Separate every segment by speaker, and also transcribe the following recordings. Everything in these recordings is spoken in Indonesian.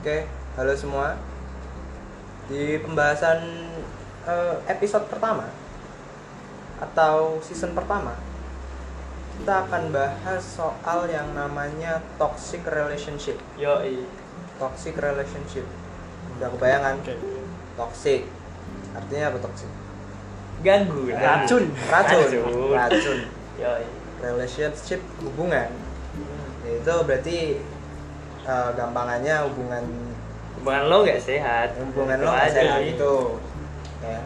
Speaker 1: Oke, halo semua. Di pembahasan eh, episode pertama atau season pertama, kita akan bahas soal yang namanya toxic relationship.
Speaker 2: Yoi.
Speaker 1: Toxic relationship. Udah kebayangan? Toxic. Artinya apa toxic?
Speaker 2: Ganggu. Racun.
Speaker 1: Racun. Racun.
Speaker 2: Yoi.
Speaker 1: Relationship hubungan. Itu berarti eh, gampangannya hubungan
Speaker 2: Hubungan lo gak sehat.
Speaker 1: hubungan lo nggak sehat gitu. itu ya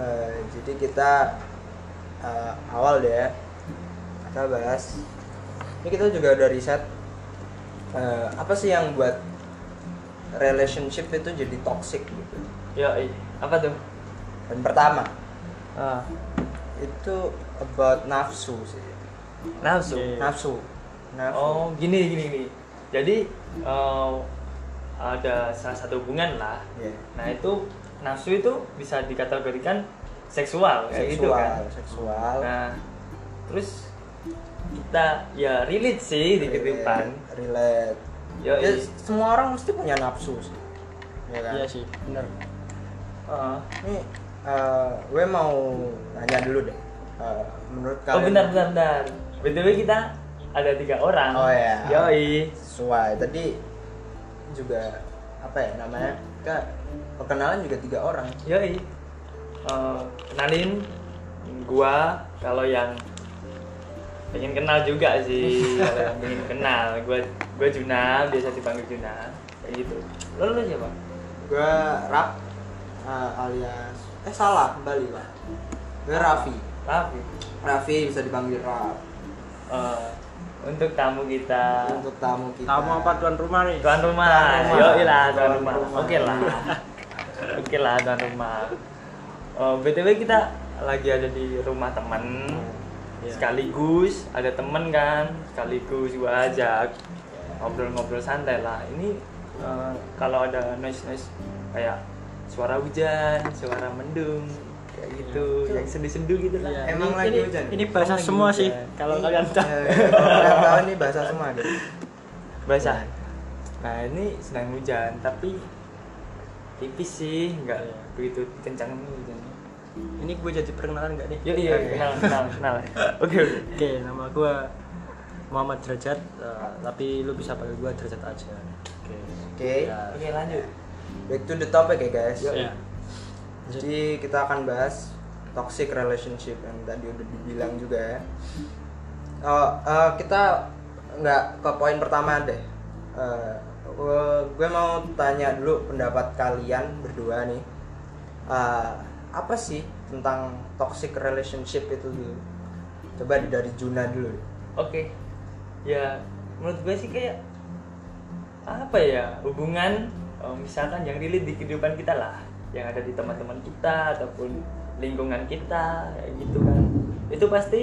Speaker 1: Eh, jadi kita eh, awal deh ya. kita bahas ini kita juga udah riset eh, apa sih yang buat relationship itu jadi toxic gitu
Speaker 2: Yoi. Apa tuh?
Speaker 1: dan pertama Ah. itu about nafsu sih
Speaker 2: Nafsu.
Speaker 1: nafsu Iya. nafsu
Speaker 2: Iya, Oh, gini gini gini. Jadi eh, ada salah satu hubungan lah.
Speaker 1: Iya.
Speaker 2: Nah, itu nafsu itu bisa dikategorikan seksual kayak gitu
Speaker 1: seksual
Speaker 2: kan.
Speaker 1: seksual
Speaker 2: Nah, terus kita ya relate sih di kehidupan.
Speaker 1: Iya, relate
Speaker 2: Yoi.
Speaker 1: Ya, semua orang mesti punya nafsu sih ya kan?
Speaker 2: Iya sih.
Speaker 1: bener Iya.
Speaker 2: Heeh.
Speaker 1: ini eh, gue mau nanya dulu deh Eh, menurut kalian
Speaker 2: Oh benar benar benar. BTW kita ada tiga orang.
Speaker 1: Oh, iya.
Speaker 2: Yoi.
Speaker 1: sesuai tadi juga apa ya namanya kita perkenalan juga tiga orang
Speaker 2: Yoi. Eh, kenalin gua kalau yang pengen kenal juga sih kalau yang pengen kenal gua gua Juna biasa dipanggil Juna kayak gitu lo lo siapa
Speaker 1: gue Raf eh, alias eh salah kembali pak gue Raffi
Speaker 2: Raffi
Speaker 1: Raffi bisa dipanggil Raf
Speaker 2: Eh, untuk tamu kita
Speaker 1: untuk tamu kita
Speaker 3: Tamu apa tuan rumah nih?
Speaker 2: tuan rumah
Speaker 1: Tuan rumah.
Speaker 2: yoi lah tuan
Speaker 1: Tuan
Speaker 2: rumah
Speaker 1: rumah.
Speaker 2: oke lah oke lah tuan rumah Eh, btw kita lagi ada di rumah temen
Speaker 3: Iya.
Speaker 2: sekaligus ada temen kan sekaligus gua ajak ngobrol-ngobrol santai lah ini eh, kalau ada noise noise kayak suara hujan suara mendung kayak gitu yang sendu-sendu gitu lah
Speaker 3: Iya.
Speaker 1: Emang
Speaker 3: Ini-
Speaker 1: lagi
Speaker 3: ini-
Speaker 1: hujan?
Speaker 3: Ini bahasa
Speaker 2: Oh, lagi
Speaker 3: semua
Speaker 2: hujan.
Speaker 3: sih. Kalau
Speaker 1: Ini-
Speaker 3: kalian tahu.
Speaker 1: eh, kalau kalian tahu ini bahasa semua gitu
Speaker 2: basah nah ini sedang hujan tapi tipis sih nggak
Speaker 3: Iya.
Speaker 2: begitu kencang hujannya
Speaker 3: Ini gue jadi perkenalan nggak nih?
Speaker 2: Yo iya
Speaker 1: Oke.
Speaker 2: kenal kenal kenal. Oke oke.
Speaker 3: Oke, nama gue Muhammad Derajat, eh, tapi lu bisa panggil gue Derajat aja. Oke.
Speaker 1: oke
Speaker 3: Ya.
Speaker 2: Oke lanjut.
Speaker 1: back to the topic ya guys
Speaker 2: Yoi.
Speaker 3: Ya.
Speaker 1: Jadi kita akan bahas toxic relationship yang tadi udah dibilang juga ya. Oh, eh, kita nggak ke poin pertama deh. Eh, gue- gue mau tanya dulu pendapat kalian berdua nih. Eh, apa sih tentang toxic relationship itu dulu? Coba dari Juna dulu.
Speaker 2: Oke. Ya menurut gue sih kayak apa ya hubungan eh, misalkan yang relate di kehidupan kita lah yang ada di teman-teman kita ataupun lingkungan kita kayak gitu kan itu pasti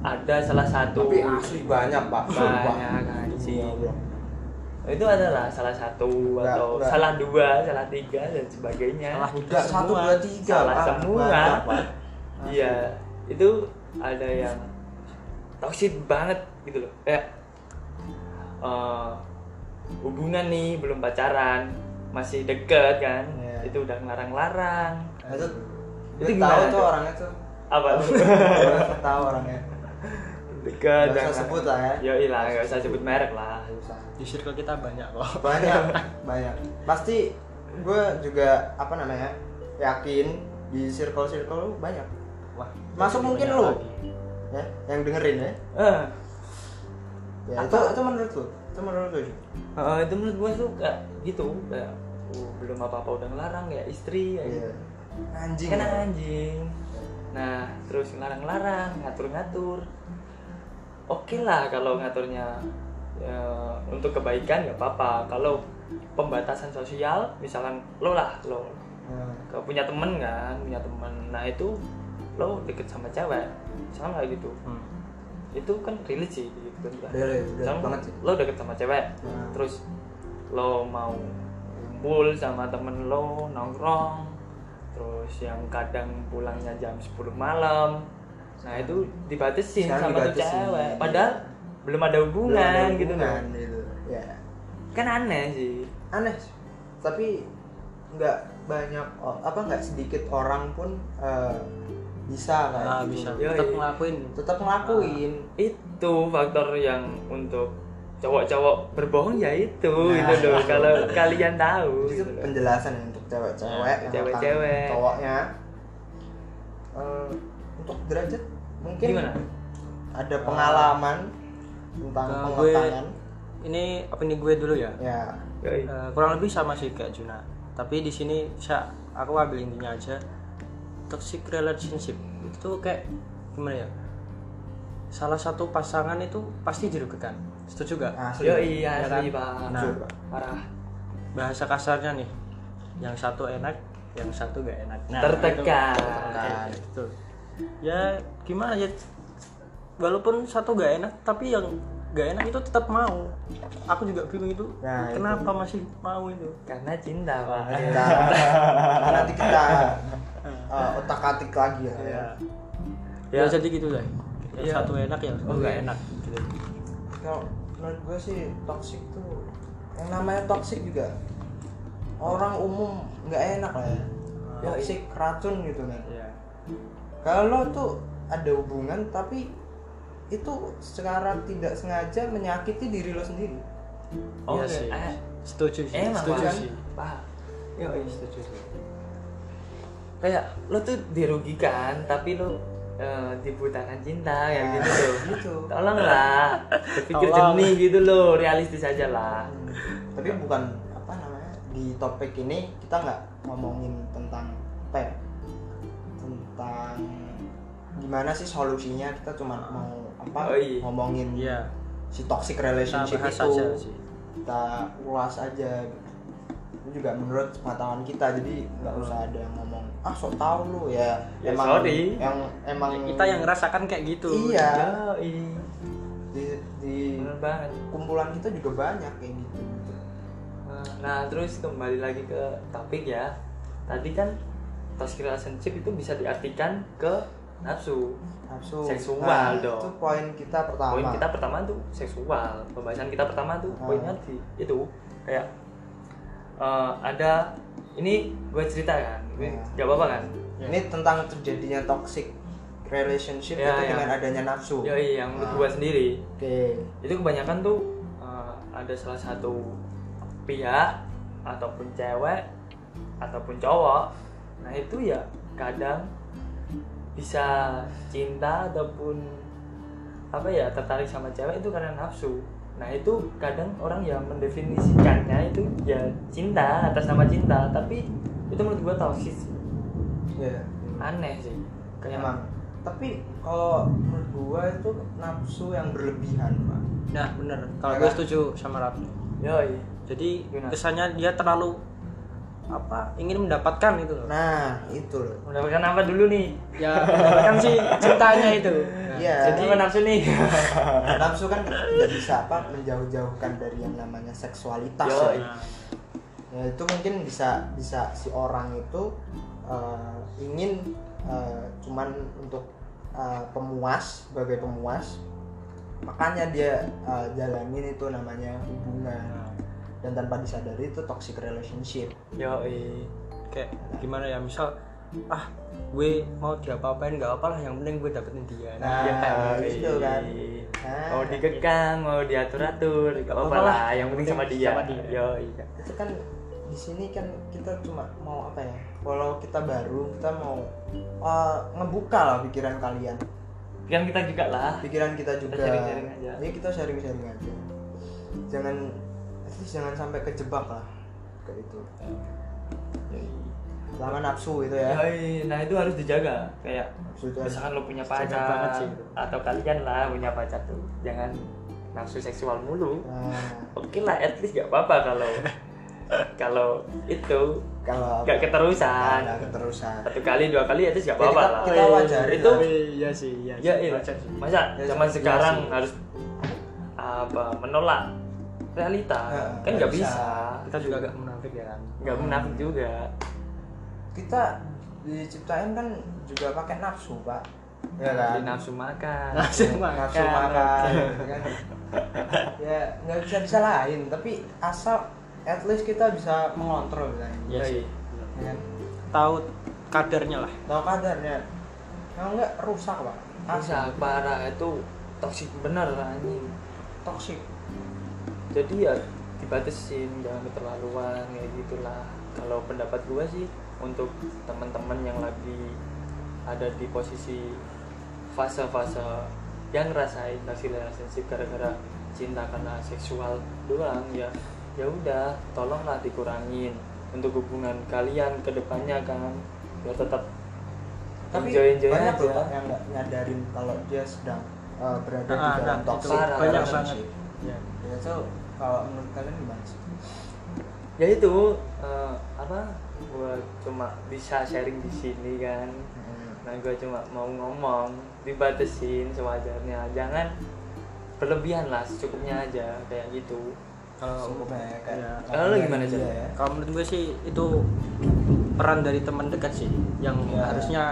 Speaker 2: ada salah satu
Speaker 1: Tapi asli banyak pak. Sumpah.
Speaker 2: Banyak, anjing.
Speaker 1: Ya Allah.
Speaker 2: itu adalah salah satu
Speaker 1: Enggak,
Speaker 2: atau
Speaker 1: enggak.
Speaker 2: salah dua salah tiga dan sebagainya
Speaker 3: Salah
Speaker 1: Udah satu
Speaker 3: Semua.
Speaker 1: dua tiga
Speaker 2: salah
Speaker 1: Pak.
Speaker 2: semua
Speaker 1: Banyak, Pak.
Speaker 2: iya itu ada yang toxic banget gitu loh kayak eh, hubungan nih belum pacaran masih deket kan
Speaker 1: Iya.
Speaker 2: itu udah ngelarang-larang
Speaker 1: Itu,
Speaker 2: Itu
Speaker 1: itu
Speaker 2: gimana
Speaker 1: tahu tuh
Speaker 2: tuh?
Speaker 1: orangnya tuh.
Speaker 2: apa
Speaker 1: Gue tahu orangnya.
Speaker 2: deket
Speaker 1: Nggak usah
Speaker 2: dan-
Speaker 1: sebut lah ya.
Speaker 2: Yoi lah nggak usah sebut merek lah
Speaker 3: Di circle kita banyak kok.
Speaker 1: Banyak, banyak. Pasti gue juga apa namanya yakin di circle-circle lu banyak.
Speaker 3: Wah.
Speaker 1: Masuk mungkin
Speaker 3: banyak lagi.
Speaker 1: lu ya yang dengerin ya.
Speaker 2: Eh,
Speaker 1: ya
Speaker 2: Apa?
Speaker 1: itu itu menurut lu? Itu menurut lu. Ju?
Speaker 2: eh, itu menurut gue tuh kayak gitu kayak uh, belum apa-apa udah ngelarang ya istri ya
Speaker 1: Iya. Anjing. ya.
Speaker 2: kan anjing nah terus ngelarang-larang ngatur-ngatur oke lah kalau ngaturnya ya, untuk kebaikan nggak apa-apa kalau pembatasan sosial misalkan lo lah lo
Speaker 1: Nah,
Speaker 2: kalau punya temen kan punya temen nah itu lo deket sama cewek misalkan kayak gitu
Speaker 3: Hmm.
Speaker 2: itu kan relate sih gitu kan
Speaker 1: Relate, relate
Speaker 2: Misalkan
Speaker 1: banget sih.
Speaker 2: lo deket sama cewek
Speaker 1: Nah.
Speaker 2: terus lo mau kumpul sama temen lo nongkrong terus yang kadang pulangnya jam 10 malam nah itu dibatasin
Speaker 1: Sekarang
Speaker 2: sama tuh
Speaker 1: dibatasin.
Speaker 2: cewek padahal belum ada hubungan,
Speaker 1: belum ada
Speaker 2: gitu
Speaker 1: hubungan
Speaker 2: kan
Speaker 1: gitu. Ya.
Speaker 2: kan aneh sih
Speaker 1: aneh tapi nggak banyak o- apa nggak sedikit orang pun eh, bisa kayak
Speaker 3: Ah,
Speaker 1: gitu.
Speaker 3: bisa
Speaker 2: Yoi.
Speaker 3: tetap ngelakuin
Speaker 1: tetap ngelakuin
Speaker 2: itu faktor yang untuk cowok-cowok berbohong ya itu gitu loh kalau kalian tahu
Speaker 1: itu
Speaker 2: gitu loh.
Speaker 1: penjelasan ya untuk cewek-cewek
Speaker 2: Nah,
Speaker 1: yang
Speaker 2: cewek-cewek.
Speaker 1: akan cowoknya Eh, untuk derajat mungkin
Speaker 2: gimana
Speaker 1: ada pengalaman tentang
Speaker 3: Nah, gue
Speaker 1: pengetangan
Speaker 3: ini opini gue dulu ya
Speaker 1: ya
Speaker 2: Yoi.
Speaker 3: Eh, kurang lebih sama sih kayak Juna tapi di sini saya aku ambil intinya aja toxic relationship itu kayak gimana ya salah satu pasangan itu pasti dirugikan setuju gak
Speaker 1: asli
Speaker 2: Yo iya
Speaker 3: Ya
Speaker 2: asli
Speaker 3: kan?
Speaker 2: pak.
Speaker 3: Nah.
Speaker 2: Parah.
Speaker 3: bahasa kasarnya nih yang satu enak yang satu gak enak nah,
Speaker 2: Tertekan.
Speaker 3: itu. Nah. Tertekan, betul. ya gimana ya walaupun satu gak enak tapi yang gak enak itu tetap mau aku juga bingung itu
Speaker 1: Nah,
Speaker 3: kenapa masih mau itu
Speaker 2: Karena cinta pak.
Speaker 1: Kita- nanti kita eh, otak atik lagi ya, Iya.
Speaker 3: ya, jadi Iya. gitu deh yang
Speaker 2: Ya.
Speaker 3: satu enak yang
Speaker 1: Oh,
Speaker 3: satu
Speaker 2: Oke.
Speaker 3: gak enak gitu.
Speaker 1: kalau menurut gue sih toxic tuh yang namanya toxic juga orang umum nggak enak lah ya
Speaker 2: Yoi.
Speaker 1: toxic racun gitu kan
Speaker 3: ya
Speaker 1: kalau tuh ada hubungan tapi itu secara tidak sengaja menyakiti diri lo sendiri
Speaker 2: Oke.
Speaker 3: Iya sih.
Speaker 2: Eh,
Speaker 3: setuju sih
Speaker 2: Emang
Speaker 3: setuju
Speaker 1: kan?
Speaker 2: Pak.
Speaker 3: sih
Speaker 2: Pak.
Speaker 1: ya setuju sih
Speaker 2: Kayak lo tuh dirugikan tapi lo eh, dibutakan cinta kayak
Speaker 1: Nah,
Speaker 2: gitu tuh.
Speaker 1: gitu.
Speaker 2: Tolonglah. Berpikir
Speaker 3: Tolong.
Speaker 2: jernih gitu loh, realistis aja lah.
Speaker 1: tapi bukan apa namanya di topik ini kita nggak ngomongin tentang apa ya, tentang gimana sih solusinya kita cuma mau apa
Speaker 2: Oh, iya.
Speaker 1: ngomongin
Speaker 3: Iya.
Speaker 1: si toxic
Speaker 3: kita
Speaker 2: Nah,
Speaker 1: relationship
Speaker 3: bahas
Speaker 1: itu
Speaker 3: aja sih
Speaker 1: kita ulas aja itu juga menurut pengetahuan kita jadi nggak usah ada yang ngomong ah sok tahu lu ya,
Speaker 2: Ya,
Speaker 1: emang
Speaker 2: sorry. Ya,
Speaker 1: yang emang
Speaker 3: kita yang ngerasakan kayak gitu
Speaker 1: iya
Speaker 2: Yoi.
Speaker 1: di, di
Speaker 2: Bener banget.
Speaker 1: kumpulan kita juga banyak kayak gitu
Speaker 2: Nah, terus kembali lagi ke topik ya. Tadi kan toxic relationship itu bisa diartikan ke nafsu.
Speaker 1: nafsu
Speaker 2: Seksual
Speaker 1: nah,
Speaker 2: dong.
Speaker 1: itu poin kita pertama
Speaker 2: Poin kita pertama tuh seksual. Pembahasan kita pertama tuh
Speaker 1: Hmm.
Speaker 2: poinnya di itu kayak eh, ada ini gue cerita kan. Ini
Speaker 1: Hmm.
Speaker 2: nggak apa-apa kan?
Speaker 1: ini tentang terjadinya toxic relationship
Speaker 2: Ya,
Speaker 1: itu
Speaker 2: ya.
Speaker 1: dengan adanya nafsu
Speaker 2: Ya
Speaker 1: oke
Speaker 2: iya, yang menurut gue sendiri itu kebanyakan tuh eh, ada salah satu pihak ataupun cewek ataupun cowok nah itu ya kadang bisa cinta ataupun apa ya tertarik sama cewek itu karena nafsu nah itu kadang orang yang mendefinisikannya itu ya cinta atas nama cinta tapi itu menurut gua toxic sih.
Speaker 1: ya
Speaker 2: aneh sih kayak
Speaker 1: emang tapi kalau menurut gua itu nafsu yang berlebihan pak
Speaker 3: nah bener
Speaker 1: Iya
Speaker 3: kalau
Speaker 1: kan?
Speaker 3: gue setuju sama Raffi
Speaker 2: yoi
Speaker 3: jadi
Speaker 2: Gimana?
Speaker 3: kesannya dia terlalu apa ingin mendapatkan itu loh
Speaker 1: nah itu loh
Speaker 2: mendapatkan apa dulu nih kan
Speaker 3: ya mendapatkan sih cintanya itu Nah,
Speaker 1: Iya.
Speaker 2: jadi apa nafsu nih
Speaker 1: nafsu kan tidak bisa apa menjauh-jauhkan dari yang namanya seksualitas
Speaker 2: Yoi.
Speaker 1: ya. Ya, itu mungkin bisa bisa si orang itu eh, ingin eh, cuman untuk eh, pemuas sebagai pemuas makanya dia eh, jalanin itu namanya hubungan
Speaker 3: Nah,
Speaker 1: dan tanpa disadari itu toxic relationship
Speaker 2: yoi
Speaker 3: kayak gimana ya misal ah gue mau diapa-apain nggak apalah yang penting gue dapetin dia nah,
Speaker 1: Nah,
Speaker 2: Ya,
Speaker 1: gitu
Speaker 2: iya.
Speaker 1: kan.
Speaker 2: Mau
Speaker 1: Nah.
Speaker 2: digegang, mau diatur-atur, iya. gak apa-apa
Speaker 3: apa-apa
Speaker 2: lah.
Speaker 3: lah.
Speaker 2: Yang penting sama dia.
Speaker 3: Sama dia.
Speaker 2: Yo, iya.
Speaker 1: itu kan di sini kan kita cuma mau apa ya kalau kita baru kita mau eh, ngebuka lah pikiran kalian
Speaker 2: Kan kita juga lah.
Speaker 1: pikiran kita juga
Speaker 2: Kita sharing-sharing aja.
Speaker 1: ya kita sharing-sharing aja jangan at least jangan sampai kejebak lah ke itu lama nafsu itu ya
Speaker 2: Yoi, nah itu harus dijaga. Kayak
Speaker 1: nafsu itu kan. harus-
Speaker 2: misalkan lo punya
Speaker 3: Jaga
Speaker 2: pacar
Speaker 3: banget sih itu.
Speaker 2: atau kalian lah punya pacar tuh, jangan nafsu seksual mulu.
Speaker 1: nah,
Speaker 2: Oke lah, at least gak apa-apa kalau kalau itu
Speaker 1: kalau
Speaker 2: gak keterusan.
Speaker 1: ada keterusan
Speaker 2: Satu kali, dua kali, at least gak
Speaker 1: Ya,
Speaker 2: apa-apa
Speaker 1: kita-
Speaker 2: lah.
Speaker 1: kita wajarin
Speaker 2: itu
Speaker 1: lah.
Speaker 3: iya sih iya
Speaker 2: ya iya masa
Speaker 1: Ya,
Speaker 2: zaman
Speaker 1: iya
Speaker 2: sekarang
Speaker 1: sih.
Speaker 2: harus apa menolak realita
Speaker 1: Ya,
Speaker 2: kan
Speaker 1: nggak
Speaker 2: nggak
Speaker 1: bisa.
Speaker 2: bisa
Speaker 3: kita juga gak munafik ya kan
Speaker 2: nggak munafik juga
Speaker 1: kita diciptain kan juga pakai nafsu pak ya kan
Speaker 2: Jadi nafsu makan
Speaker 3: langsung
Speaker 1: nafsu
Speaker 3: makan
Speaker 1: makan gitu kan. ya nggak bisa bisa lain tapi asal at least kita bisa mengontrol kan
Speaker 3: ya sih
Speaker 1: Ya kan?
Speaker 3: tahu kadarnya lah
Speaker 1: tahu kadarnya kalau nggak rusak pak asal
Speaker 2: Asal parah itu toksik bener anjing
Speaker 1: toksik
Speaker 2: jadi ya dibatasin jangan keterlaluan ya gitulah kalau pendapat gua sih untuk teman-teman yang lagi ada di posisi fase-fase yang ngerasain toxic relationship gara-gara cinta karena seksual doang ya ya udah tolonglah dikurangin untuk hubungan kalian kedepannya kan biar tetap
Speaker 1: tapi
Speaker 2: enjoy-enjoy
Speaker 1: banyak
Speaker 2: aja.
Speaker 1: loh Pak, yang nggak nyadarin kalau dia sedang eh, berada
Speaker 3: Ah,
Speaker 1: di
Speaker 3: nah,
Speaker 1: dalam
Speaker 3: itu
Speaker 1: toxic
Speaker 2: parah.
Speaker 3: banyak banget
Speaker 1: relationship.
Speaker 3: ya.
Speaker 1: ya so kalau menurut kalian gimana sih
Speaker 2: ya itu eh, apa gua cuma bisa sharing di sini kan nah gue cuma mau ngomong dibatesin sewajarnya jangan berlebihan lah secukupnya aja kayak gitu
Speaker 3: kalau
Speaker 1: Cukup banyak kan.
Speaker 3: Eh, Ya.
Speaker 2: Kalau lu gimana,
Speaker 1: Iya,
Speaker 2: Jan?
Speaker 1: ya.
Speaker 3: kalau menurut gue sih itu peran dari teman dekat sih yang
Speaker 1: Ya.
Speaker 3: harusnya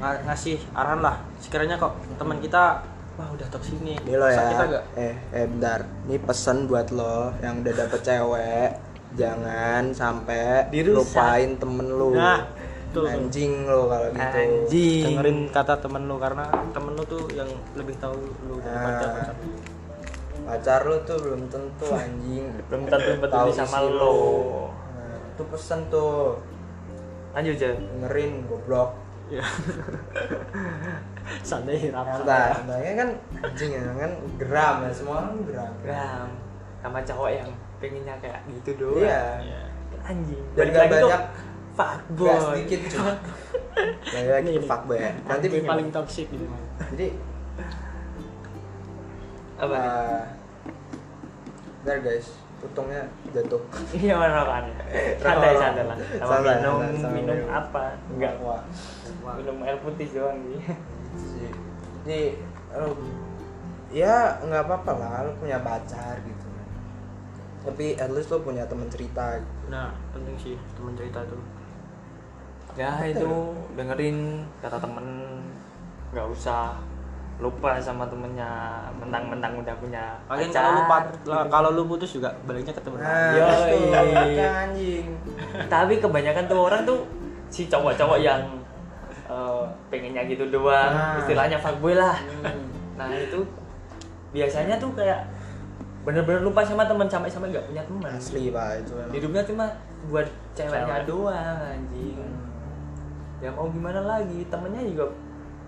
Speaker 3: nga- ngasih arahan lah sekiranya kok teman kita wah udah toksik nih
Speaker 1: Ini lo
Speaker 3: masa
Speaker 1: ya.
Speaker 3: kita nggak
Speaker 1: Eh, eh bentar. Ini pesan buat lo yang udah dapet cewek, jangan sampai
Speaker 2: Dirusak.
Speaker 1: lupain temen lo.
Speaker 3: Nah, betul.
Speaker 1: anjing lo kalau gitu.
Speaker 2: anjing
Speaker 3: dengerin kata temen lu karena temen lu tuh yang lebih tahu lu
Speaker 1: Nah.
Speaker 3: daripada kan. pacar lu.
Speaker 1: Pacar lo tuh belum tentu anjing.
Speaker 2: belum tentu
Speaker 1: Eh, Tahu
Speaker 2: peduli sama
Speaker 1: isi
Speaker 2: lo
Speaker 1: Nah, itu pesan tuh
Speaker 2: lanjut aja
Speaker 1: dengerin goblok.
Speaker 3: ya santai rapat
Speaker 1: Santai, santainya kan anjing ya kan geram ya semua orang geram.
Speaker 2: ram sama cowok yang pengennya kayak gitu doang
Speaker 1: Iya.
Speaker 3: Ya.
Speaker 2: anjing
Speaker 1: Dan
Speaker 2: Balik
Speaker 1: gak
Speaker 2: lagi tuh,
Speaker 1: banyak.
Speaker 2: fuckboy
Speaker 1: Gak sedikit Nah, ya, cuma. Lagi lagi
Speaker 3: Ini-
Speaker 1: fuck boy. Nanti
Speaker 3: Ini paling toksik gitu
Speaker 1: Jadi
Speaker 2: apa nih?
Speaker 1: eh, bentar guys, tutungnya jatuh.
Speaker 2: iya mana kan santai santai lah sama
Speaker 1: Santai, santai,
Speaker 2: minum
Speaker 1: sama
Speaker 2: minum
Speaker 1: minum.
Speaker 2: apa enggak
Speaker 1: wah.
Speaker 2: minum air putih doang sih
Speaker 1: Jadi- Jadi lu- ya nggak apa-apa lah lu punya pacar gitu. Tapi at least lu punya teman cerita. gitu.
Speaker 3: nah penting sih teman cerita tuh
Speaker 2: ya itu dengerin kata temen nggak usah lupa sama temennya mentang-mentang udah punya
Speaker 3: kalian
Speaker 2: pacar.
Speaker 3: kalau lu pat- lah, kalau lu putus juga baliknya ke temen
Speaker 1: Nah,
Speaker 2: Yoi.
Speaker 1: terus tuh, kan, anjing.
Speaker 2: tapi kebanyakan tuh orang tuh si cowok-cowok yang eh, pengennya gitu doang
Speaker 1: Nah. Hmm.
Speaker 2: istilahnya fuckboy lah nah itu biasanya tuh kayak bener-bener lupa sama temen sampai-sampai nggak punya teman
Speaker 1: Asli pak itu emang.
Speaker 2: hidupnya cuma buat ceweknya
Speaker 3: Cewek.
Speaker 2: doang anjing
Speaker 1: Hmm.
Speaker 2: ya mau gimana lagi temennya juga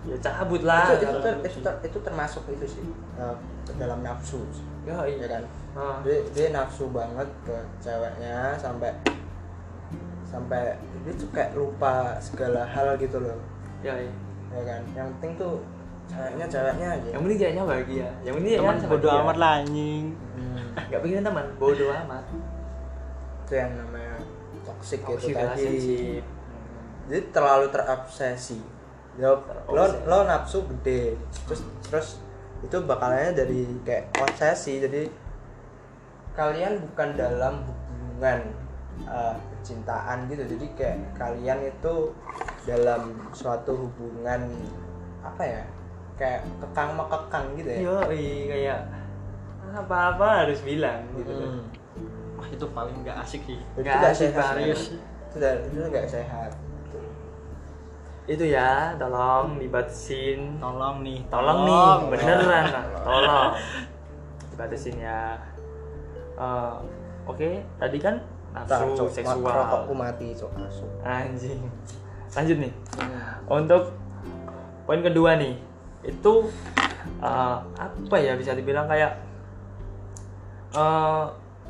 Speaker 2: ya cabut lah
Speaker 1: itu, itu, ter- itu, ter- itu termasuk itu sih
Speaker 2: Ah.
Speaker 1: eh, ke dalam nafsu sih,
Speaker 2: ya
Speaker 1: ya
Speaker 2: iya
Speaker 1: kan
Speaker 2: Ah.
Speaker 1: dia, dia nafsu banget ke ceweknya sampai sampai dia tuh kayak lupa segala hal gitu loh
Speaker 2: ya iya.
Speaker 1: ya kan yang penting tuh ceweknya ceweknya aja
Speaker 2: yang penting ceweknya bahagia ya. yang penting
Speaker 3: teman
Speaker 2: Iya, sama
Speaker 3: bodo
Speaker 2: dia. ya.
Speaker 3: amat lah anjing
Speaker 1: Hmm,
Speaker 2: nggak pikirin teman bodo amat
Speaker 1: itu yang namanya toxic, gitu
Speaker 2: Toxic
Speaker 1: tadi
Speaker 2: relationship.
Speaker 1: jadi terlalu terobsesi lo, lo,
Speaker 2: Terobsesi.
Speaker 1: lo nafsu gede terus terus itu bakalannya dari kayak obsesi jadi kalian bukan dalam hubungan eh, percintaan gitu jadi kayak kalian itu dalam suatu hubungan apa ya kayak kekang mekekang gitu ya
Speaker 2: yo iya, kayak apa-apa harus bilang gitu
Speaker 1: Hmm.
Speaker 3: wah itu paling nggak asik sih
Speaker 1: itu
Speaker 2: Nggak
Speaker 1: nggak
Speaker 2: sih,
Speaker 1: sehat
Speaker 2: serius.
Speaker 1: itu nggak- itu nggak sehat
Speaker 2: itu ya tolong dibatasin
Speaker 3: tolong nih
Speaker 2: tolong nih beneran lah tolong dibatasin ya Eh, oke tadi kan
Speaker 1: Ntar, Cok,
Speaker 2: nafsu
Speaker 1: mak-
Speaker 2: seksual
Speaker 1: rokokku mati cok asu
Speaker 2: anjing lanjut nih untuk poin kedua nih itu eh, apa ya bisa dibilang kayak eh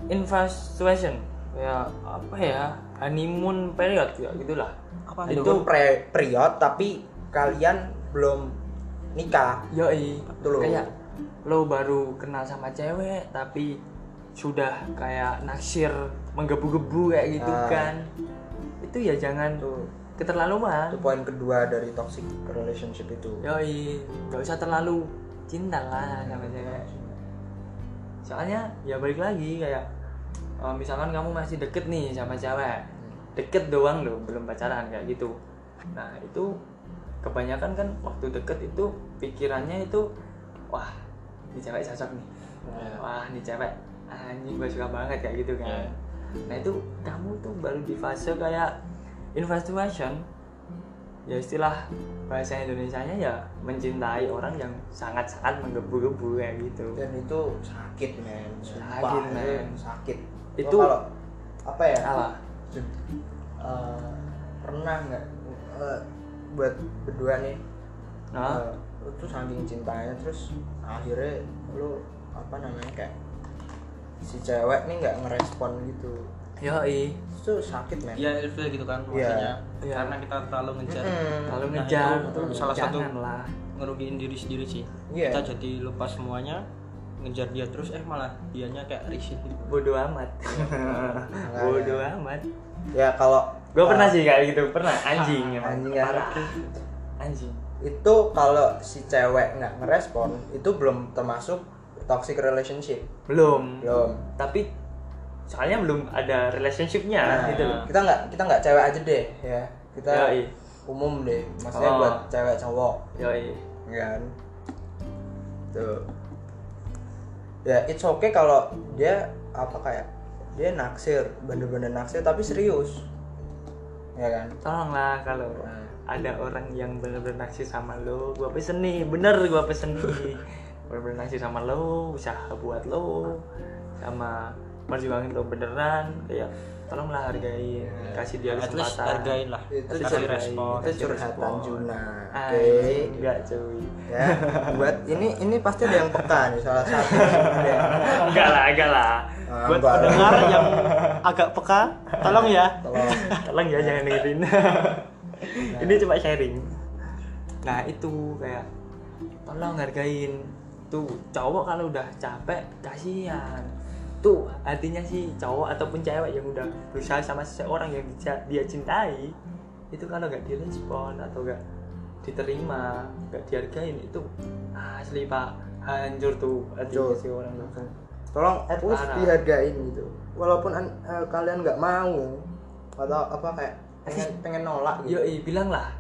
Speaker 2: infatuation ya apa ya honeymoon period ya gitulah
Speaker 3: apa
Speaker 2: Itu-
Speaker 1: itu pre period tapi kalian belum nikah
Speaker 2: yoi
Speaker 1: Itu loh.
Speaker 2: kayak lo baru kenal sama cewek tapi sudah kayak naksir menggebu-gebu kayak gitu
Speaker 1: Ah.
Speaker 2: kan itu ya jangan
Speaker 1: itu itu
Speaker 2: keterlaluan
Speaker 1: poin kedua dari toxic relationship itu
Speaker 2: Yoi, gak usah terlalu cinta lah sama cewek. Soalnya ya balik lagi kayak eh, misalkan kamu masih deket nih sama cewek, deket doang loh, belum pacaran kayak gitu. Nah itu kebanyakan kan waktu deket itu pikirannya itu wah ini cewek cocok nih
Speaker 3: Iya.
Speaker 2: wah ini cewek anjing gue suka banget kayak gitu kan
Speaker 3: Iya.
Speaker 2: nah itu kamu tuh baru di fase kayak infatuation ya istilah bahasa Indonesianya ya mencintai orang yang sangat-sangat menggebu-gebu kayak gitu
Speaker 1: dan itu sakit men Sumpah,
Speaker 2: Sakit,
Speaker 1: itu
Speaker 2: men.
Speaker 1: sakit
Speaker 2: Itu-
Speaker 1: Lo kalau apa ya
Speaker 2: salah
Speaker 1: Eh, pernah nggak eh, buat berdua nih
Speaker 2: Hah?
Speaker 1: eh, lu tuh saking cintanya terus akhirnya lu apa namanya kayak si cewek nih nggak ngerespon gitu
Speaker 2: yoi
Speaker 1: itu sakit men
Speaker 3: ya ilfil gitu kan
Speaker 1: Iya.
Speaker 3: maksudnya
Speaker 2: Iya.
Speaker 3: karena kita terlalu ngejar
Speaker 1: Mm-mm.
Speaker 2: lalu
Speaker 3: Nah,
Speaker 2: ngejar
Speaker 3: itu salah satu-
Speaker 2: lah
Speaker 3: ngerugiin diri sendiri sih
Speaker 1: Iya.
Speaker 3: kita jadi lupa semuanya ngejar dia terus eh malah dianya kayak risih gitu
Speaker 2: bodoh amat bodoh amat
Speaker 1: ya kalau
Speaker 2: gue
Speaker 1: eh,
Speaker 2: pernah sih kayak gitu pernah anjing emang
Speaker 1: Ah, anjing ya.
Speaker 2: parah anjing
Speaker 1: eh, itu kalau si cewek nggak ngerespon itu belum termasuk toxic relationship
Speaker 2: belum
Speaker 1: belum
Speaker 2: tapi soalnya belum ada relationshipnya
Speaker 1: Nah,
Speaker 2: gitu loh
Speaker 1: kita nggak kita nggak cewek aja deh ya kita
Speaker 2: Yoi.
Speaker 1: umum deh maksudnya
Speaker 2: Oh.
Speaker 1: buat cewek cowok
Speaker 2: yoi
Speaker 1: kan tuh ya it's okay kalau dia apa kayak dia naksir bener-bener naksir tapi serius ya kan
Speaker 2: tolonglah kalau
Speaker 1: Nah.
Speaker 2: ada orang yang bener-bener naksir sama lo gua pesen nih bener gua pesen nih bener-bener naksir sama lo usaha buat lo sama perjuangin lo beneran kayak tolonglah hargai
Speaker 1: Iya.
Speaker 2: kasih dia
Speaker 3: at least
Speaker 2: kesempatan
Speaker 3: hargain lah
Speaker 1: itu
Speaker 3: Kasih
Speaker 1: curhat,
Speaker 3: respon
Speaker 1: itu curhatan Juna oke
Speaker 2: iya, Anjing, Ah, enggak cuy
Speaker 1: ya buat ini ini pasti ada yang peka nih salah satu Ada yang-
Speaker 2: enggak lah enggak lah
Speaker 1: Ah,
Speaker 3: buat
Speaker 1: enggak.
Speaker 3: pendengar yang agak peka tolong ya
Speaker 1: Tolong.
Speaker 2: tolong ya jangan dengerin ini cuma sharing nah itu kayak tolong hargain tuh cowok kalau udah capek kasihan tuh artinya sih cowok ataupun cewek yang udah berusaha sama seseorang yang dia, dia cintai itu kalau nggak direspon atau nggak diterima nggak dihargain itu asli pak hancur tuh
Speaker 1: Hancur.
Speaker 2: hatinya si orang tuh.
Speaker 1: tolong at least
Speaker 2: Parah.
Speaker 1: dihargain gitu walaupun an- eh, kalian nggak mau atau apa kayak pengen pengen nolak gitu
Speaker 2: Yoi, bilanglah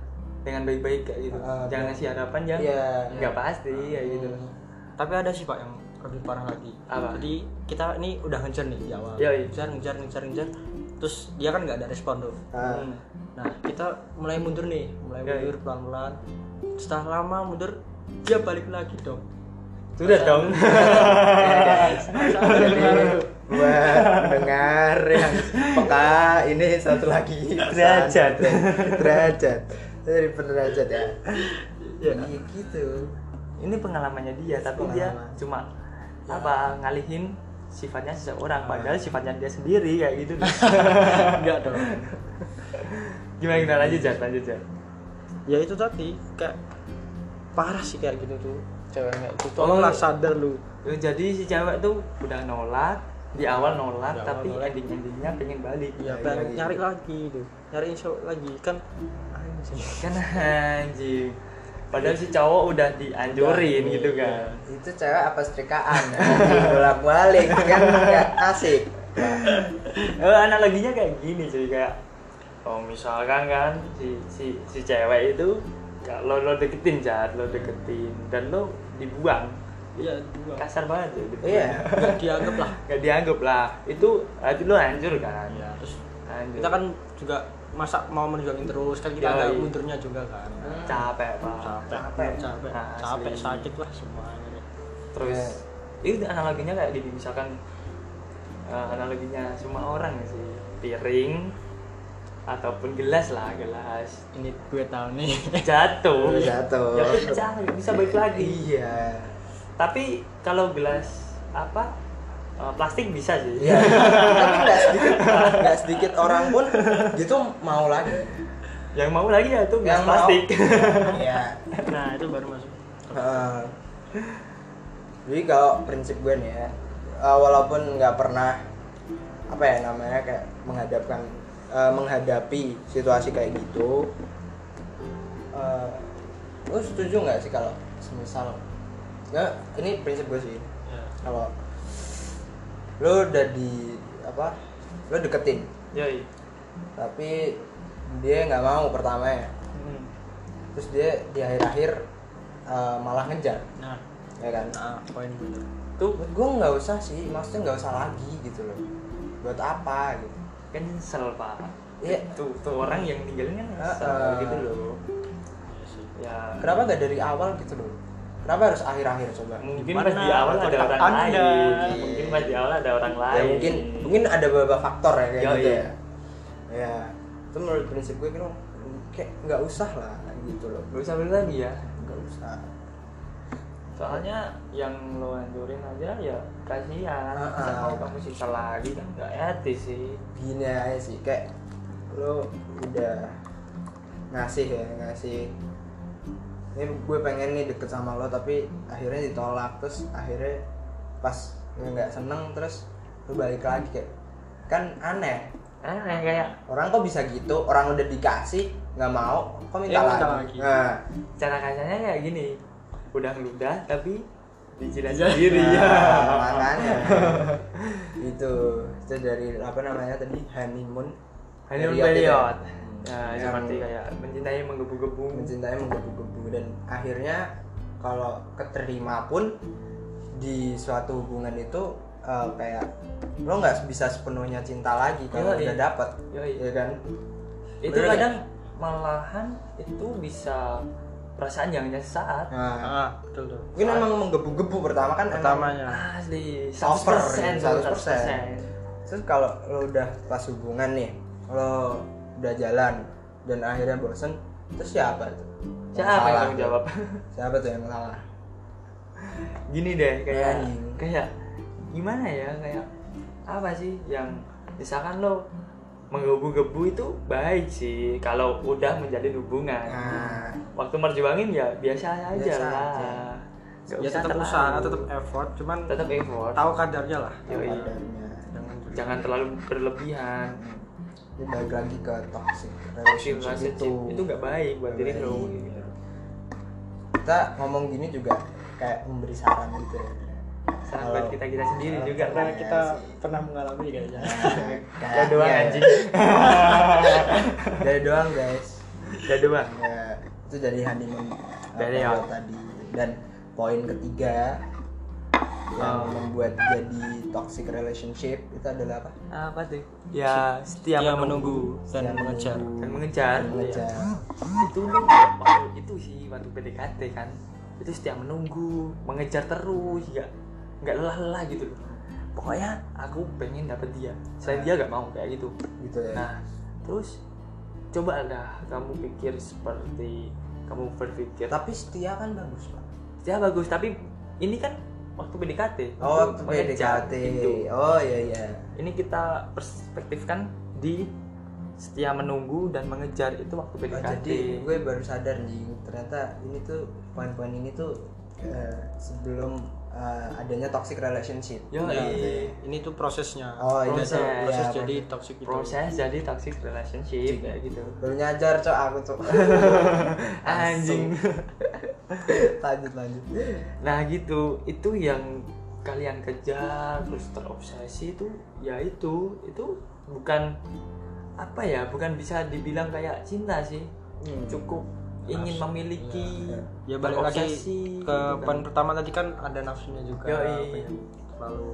Speaker 2: dengan baik-baik kayak gitu.
Speaker 1: Ah,
Speaker 2: Jangan
Speaker 1: bener.
Speaker 2: kasih harapan yang
Speaker 1: Iya.
Speaker 2: nggak pasti kayak gitu.
Speaker 3: tapi ada sih pak yang lebih parah lagi
Speaker 2: Apa?
Speaker 3: jadi kita ini udah ngejar nih di awal
Speaker 2: Iya, iya.
Speaker 3: ngejar ngejar ngejar ngejar terus dia kan nggak ada respon tuh
Speaker 1: Ah,
Speaker 2: Hmm.
Speaker 3: nah kita mulai mundur nih mulai
Speaker 2: Iya, iya.
Speaker 3: mundur pelan pelan setelah lama mundur dia balik lagi dong
Speaker 2: Sudah dong. Iya,
Speaker 1: jadi buat pendengar yang peka ini satu lagi pesan.
Speaker 2: Derajat.
Speaker 1: derajat dari penderajat ya Iya gitu
Speaker 2: Ini pengalamannya dia, tapi dia
Speaker 1: Pengalaman.
Speaker 2: cuma apa ngalihin sifatnya seseorang padahal sifatnya dia sendiri kayak gitu loh.
Speaker 3: enggak dong
Speaker 2: gimana gimana lanjut Jar, lanjut Jar.
Speaker 3: ya itu tadi kayak parah sih kayak gitu tuh ceweknya itu tolonglah sadar lu
Speaker 2: Tuh, Ya, jadi si cewek tuh udah nolak di awal nolak
Speaker 3: Di awal
Speaker 2: tapi
Speaker 3: nolak.
Speaker 2: ending endingnya pengen balik
Speaker 3: ya
Speaker 1: Nyari
Speaker 3: balik
Speaker 1: lagi.
Speaker 3: nyari lagi tuh nyari insya lagi kan anjing
Speaker 2: kan anjing padahal si cowok udah dianjurin gitu kan
Speaker 1: itu cewek apa setrikaan bolak balik kan nggak asik
Speaker 2: Eh, analoginya kayak gini sih kayak oh misalkan kan si si si cewek itu ya, lo lo deketin jahat lo deketin dan lo dibuang
Speaker 3: ya dua
Speaker 2: kasar banget tuh gitu.
Speaker 1: iya
Speaker 3: nggak dianggap lah
Speaker 2: nggak dianggap lah itu hati lo hancur kan
Speaker 3: ya terus
Speaker 2: hancur
Speaker 3: kita kan juga masa mau menjuangin terus kan
Speaker 2: Ya,
Speaker 3: kita ada
Speaker 2: iya.
Speaker 3: mundurnya juga kan
Speaker 2: capek pak
Speaker 3: capek
Speaker 1: Capek.
Speaker 3: capek
Speaker 2: Asli.
Speaker 3: capek sakit lah semuanya nih.
Speaker 2: terus itu analoginya kayak gini misalkan eh, analoginya semua orang ya sih piring ataupun gelas lah gelas
Speaker 3: ini gue tahu nih
Speaker 2: jatuh
Speaker 3: Iya.
Speaker 1: Jatuh.
Speaker 2: ya pecah nggak bisa balik lagi
Speaker 1: iya
Speaker 2: tapi kalau gelas apa eh, plastik bisa sih
Speaker 1: Iya. Tapi nggak sedikit, nggak sedikit orang pun gitu mau lagi.
Speaker 2: yang mau lagi ya itu gelas plastik
Speaker 1: mau. Iya.
Speaker 3: nah itu baru masuk
Speaker 1: Heeh. Ah. Jadi kalau prinsip gue nih ya, eh, walaupun nggak pernah apa ya namanya kayak menghadapkan eh, menghadapi situasi kayak gitu, eh, lo setuju nggak sih kalau semisal, ya ini prinsip gue sih,
Speaker 3: ya.
Speaker 1: kalau lo udah di apa, lo deketin,
Speaker 2: yoi
Speaker 1: tapi dia nggak mau pertama ya
Speaker 2: Hmm.
Speaker 1: terus dia di akhir-akhir eh, malah ngejar
Speaker 3: nah
Speaker 1: ya kan
Speaker 3: nah, poin bener
Speaker 2: tuh
Speaker 1: buat gue nggak usah sih maksudnya nggak usah lagi gitu loh buat apa gitu
Speaker 2: cancel pak
Speaker 1: Iya.
Speaker 2: tuh tuh orang yang ninggalin kan nyesel
Speaker 1: Heeh.
Speaker 2: gitu loh
Speaker 3: Iya sih.
Speaker 2: ya
Speaker 1: kenapa nggak dari awal gitu loh kenapa harus akhir-akhir coba
Speaker 2: mungkin
Speaker 3: Gimana
Speaker 2: pas di awal ada
Speaker 3: kontak
Speaker 2: orang
Speaker 3: Anda?
Speaker 2: lain mungkin pas di awal ada orang lain
Speaker 1: ya mungkin mungkin ada beberapa faktor ya kayak
Speaker 2: Yoi.
Speaker 1: gitu ya ya itu menurut prinsip gue gitu kayak nggak usah lah gitu loh
Speaker 2: gak usah beli lagi ya
Speaker 1: nggak usah
Speaker 2: soalnya yang lo anjurin aja ya kasihan
Speaker 1: Heeh.
Speaker 2: Masa kalau kamu sisa lagi kan gak etis sih
Speaker 1: gini aja sih kayak lo udah ngasih ya ngasih ini gue pengen nih deket sama lo tapi akhirnya ditolak terus akhirnya pas gue nggak seneng terus lo balik lagi kayak kan aneh
Speaker 2: eh kayak- kayak
Speaker 1: orang kok bisa gitu orang udah dikasih nggak mau kok minta
Speaker 2: Ya,
Speaker 3: Eh,
Speaker 1: lagi,
Speaker 3: minta lagi.
Speaker 1: Nah,
Speaker 2: cara kasarnya kayak gini udah ngeludah tapi dijilat sendiri ya
Speaker 1: nah, makanya itu itu dari apa namanya tadi honeymoon
Speaker 2: honeymoon
Speaker 1: Period itu ya.
Speaker 2: period ya,
Speaker 1: Yang-
Speaker 2: seperti kayak mencintai menggebu-gebu
Speaker 1: mencintai menggebu-gebu dan akhirnya kalau keterima pun di suatu hubungan itu eh, kayak lo nggak bisa sepenuhnya cinta lagi kalau
Speaker 2: Yoi.
Speaker 1: udah dapet
Speaker 2: Yoi.
Speaker 1: ya kan
Speaker 2: itu
Speaker 1: Bener nggak?
Speaker 2: kadang malahan itu bisa perasaan yang nyesaat
Speaker 1: nah,
Speaker 3: ah betul tuh
Speaker 1: mungkin emang menggebu-gebu pertama kan emang-
Speaker 3: pertamanya
Speaker 2: asli
Speaker 1: Over,
Speaker 2: 100%
Speaker 1: 100%.
Speaker 2: 100%.
Speaker 1: terus kalau lo udah pas hubungan nih lo udah jalan dan akhirnya bosen terus siapa tuh Yang
Speaker 2: siapa yang
Speaker 1: salah
Speaker 2: tanggung
Speaker 1: tuh?
Speaker 2: jawab
Speaker 1: siapa tuh yang salah
Speaker 2: gini deh kayak
Speaker 1: Anjing.
Speaker 2: kayak gimana ya kayak apa sih yang misalkan lo menggebu-gebu itu baik sih kalau udah menjadi hubungan
Speaker 1: nah
Speaker 2: waktu merjuangin ya biasa aja
Speaker 1: Biasa
Speaker 2: lah
Speaker 1: aja.
Speaker 2: Nggak
Speaker 3: ya
Speaker 2: usah
Speaker 3: tetap
Speaker 2: terlalu.
Speaker 3: usaha tetap effort cuman
Speaker 2: tetap effort
Speaker 3: tahu kadarnya lah
Speaker 2: Yoi.
Speaker 1: kadarnya.
Speaker 3: jangan
Speaker 2: jangan terlalu berlebihan
Speaker 1: ini balik lagi ke toxic
Speaker 2: toxic
Speaker 1: relationship
Speaker 2: relationship
Speaker 1: itu
Speaker 2: itu nggak baik buat
Speaker 1: Nggak
Speaker 2: diri
Speaker 1: baik.
Speaker 2: lo
Speaker 1: kita ngomong gini juga kayak memberi saran gitu ya
Speaker 2: saran
Speaker 1: Kalau-
Speaker 2: buat kita kita sendiri
Speaker 3: Ah.
Speaker 1: Kalau
Speaker 2: juga kan.
Speaker 1: Karena
Speaker 3: karena
Speaker 1: Iya kita
Speaker 3: kita
Speaker 1: sih.
Speaker 3: pernah mengalami kayaknya
Speaker 2: Gak doang
Speaker 1: Iya.
Speaker 2: anjing
Speaker 1: dari doang guys
Speaker 2: Gak doang
Speaker 1: Ya, itu dari honeymoon
Speaker 2: Dari
Speaker 1: apa,
Speaker 2: ya.
Speaker 1: tadi dan poin ketiga yang
Speaker 2: Oh.
Speaker 1: membuat jadi toxic relationship itu adalah apa
Speaker 2: Apa tuh? Ya setia
Speaker 3: yang
Speaker 2: menunggu
Speaker 3: Iya, menunggu dan
Speaker 1: Yang
Speaker 3: mengejar
Speaker 2: Dan mengejar Iya.
Speaker 1: mengejar
Speaker 2: Itu tuh waktu itu sih waktu PDKT kan Itu setia menunggu Mengejar terus Gak, nggak lelah-lelah gitu loh Pokoknya aku pengen dapet dia Selain dia gak mau kayak gitu
Speaker 1: gitu ya
Speaker 2: Nah, terus coba dah kamu pikir seperti kamu berpikir.
Speaker 1: tapi setia kan bagus pak
Speaker 2: Ya bagus, tapi ini kan waktu PDKT.
Speaker 1: oh
Speaker 2: Itu mengejar,
Speaker 1: PDKT
Speaker 2: gitu.
Speaker 1: oh iya iya
Speaker 2: Ini kita perspektifkan di setia menunggu dan mengejar itu waktu
Speaker 1: Oh,
Speaker 2: PDKT.
Speaker 1: jadi gue baru sadar nih ternyata ini tuh poin-poin ini tuh eh, sebelum eh, adanya toxic relationship
Speaker 2: Yoi.
Speaker 3: ini tuh prosesnya
Speaker 1: Oh, ini
Speaker 3: proses,
Speaker 2: tuh,
Speaker 3: proses
Speaker 1: iya,
Speaker 3: jadi toxic itu
Speaker 2: proses jadi toxic relationship kayak gitu.
Speaker 1: baru nyajar cok aku cok
Speaker 2: Anjing.
Speaker 1: lanjut lanjut
Speaker 2: Nah gitu, itu yang kalian kejar terus terobsesi itu ya itu itu bukan apa ya bukan bisa dibilang kayak cinta sih
Speaker 1: Hmm.
Speaker 2: cukup ingin
Speaker 3: Nafsu,
Speaker 2: memiliki
Speaker 1: iya,
Speaker 3: ya balik lagi
Speaker 2: terobsesi,
Speaker 3: ke
Speaker 2: gitu
Speaker 3: poin
Speaker 2: kan.
Speaker 3: pertama tadi kan ada nafsunya juga
Speaker 2: Yoi.
Speaker 3: pengen terlalu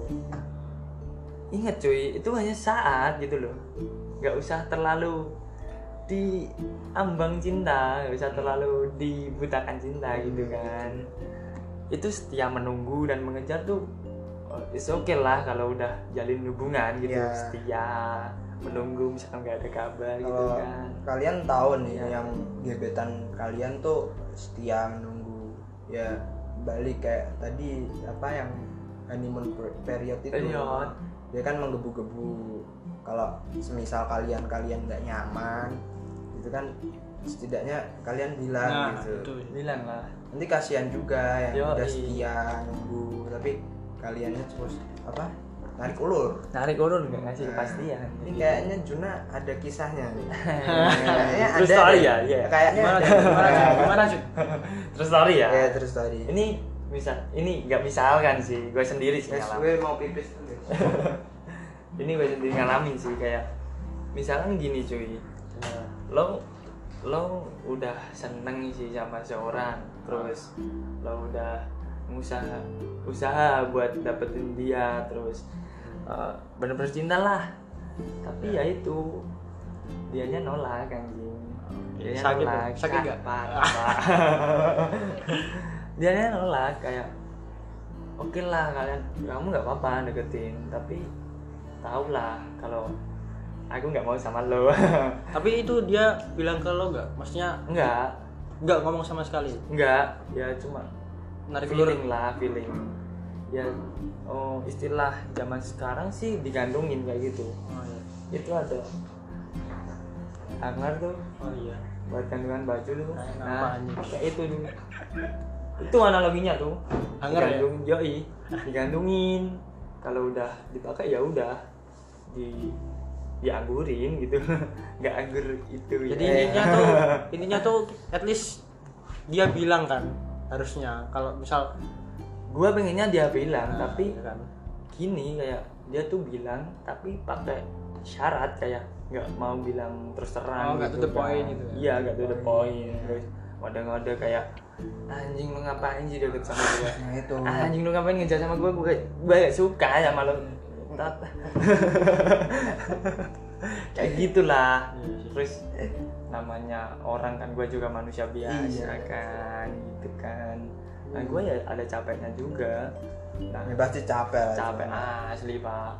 Speaker 2: ingat cuy itu hanya saat gitu loh nggak usah terlalu diambang cinta nggak usah terlalu dibutakan cinta gitu kan itu setia menunggu dan mengejar tuh itu oke lah kalau udah jalin hubungan gitu
Speaker 1: Iya.
Speaker 2: setia menunggu misalkan nggak ada kabar gitu
Speaker 1: kalau
Speaker 2: kan
Speaker 1: kalian tahu nih
Speaker 2: Iya.
Speaker 1: yang gebetan kalian tuh setia menunggu ya balik kayak tadi apa yang honeymoon per- period itu
Speaker 2: Period.
Speaker 1: dia kan menggebu-gebu kalau semisal kalian kalian nggak nyaman gitu kan setidaknya kalian bilang
Speaker 3: nah
Speaker 1: gitu
Speaker 3: itu
Speaker 2: bilang lah
Speaker 1: nanti kasihan juga yang
Speaker 2: Yoi.
Speaker 1: udah setia nunggu tapi kaliannya terus apa tarik ulur
Speaker 2: narik urun nggak ngasih
Speaker 1: Nah,
Speaker 2: kepastian
Speaker 1: Ini kayaknya Juna ada kisahnya nih. kayaknya
Speaker 2: True story
Speaker 1: deh.
Speaker 2: ya, iya.
Speaker 1: Kayaknya ada.
Speaker 3: gimana Jun? gimana Jun? gimana Jun?
Speaker 2: terus lari ya
Speaker 1: Iya, terus tadi. Ini
Speaker 2: ini misal ini nggak misalkan sih gue sendiri sih ngalamin.
Speaker 1: gue mau pipis dulu.
Speaker 2: ini gue sendiri ngalamin sih kayak misalkan gini cuy lo lo udah seneng sih sama seorang terus lo udah usaha usaha buat dapetin dia terus eh, bener-bener cinta lah tapi ya itu dianya nolak anjing dianya
Speaker 3: Sakit ya?
Speaker 2: nolak
Speaker 3: Sakit nggak?
Speaker 2: Parah, Pak. dianya nolak kayak oke lah kalian kamu nggak apa-apa deketin tapi tau lah kalau aku nggak mau sama lo
Speaker 3: tapi itu dia bilang ke lo nggak maksudnya
Speaker 2: enggak
Speaker 3: nggak ngomong sama sekali
Speaker 2: enggak ya cuma
Speaker 3: narik ulur
Speaker 2: feeling lah feeling ya oh istilah zaman sekarang sih digandungin kayak gitu
Speaker 3: oh iya
Speaker 2: itu ada hangar tuh
Speaker 3: oh iya
Speaker 2: buat kandungan baju tuh
Speaker 3: Nah,
Speaker 2: nah,
Speaker 3: apaan nih?
Speaker 2: kayak itu tuh itu analoginya tuh
Speaker 3: Hanger ya?
Speaker 2: digantung yoi digandungin kalau udah dipakai ya udah di dianggurin gitu nggak anggur itu
Speaker 3: jadi
Speaker 2: ya.
Speaker 3: intinya tuh intinya tuh at least dia bilang kan harusnya kalau misal
Speaker 2: gua pengennya dia bilang
Speaker 3: Nah,
Speaker 2: tapi
Speaker 3: ya kan
Speaker 2: gini kayak dia tuh bilang tapi pakai syarat kayak nggak mau bilang terus terang
Speaker 3: Oh, nggak to the
Speaker 2: kan.
Speaker 3: point gitu ya.
Speaker 2: iya nggak to the point terus ngode-ngode kayak anjing lu ngapain sih deket sama gue
Speaker 1: Nah itu.
Speaker 2: Ah, anjing lu ngapain ngejar sama gue gue gue gak suka ya sama lu Tat. kayak gitulah
Speaker 3: Iya sih.
Speaker 2: terus namanya orang kan gue juga manusia biasa
Speaker 1: Iya.
Speaker 2: kan gitu kan nah gue ya ada capeknya juga nah
Speaker 1: Ya, pasti capek. lah.
Speaker 2: capek
Speaker 1: Iya.
Speaker 2: asli pak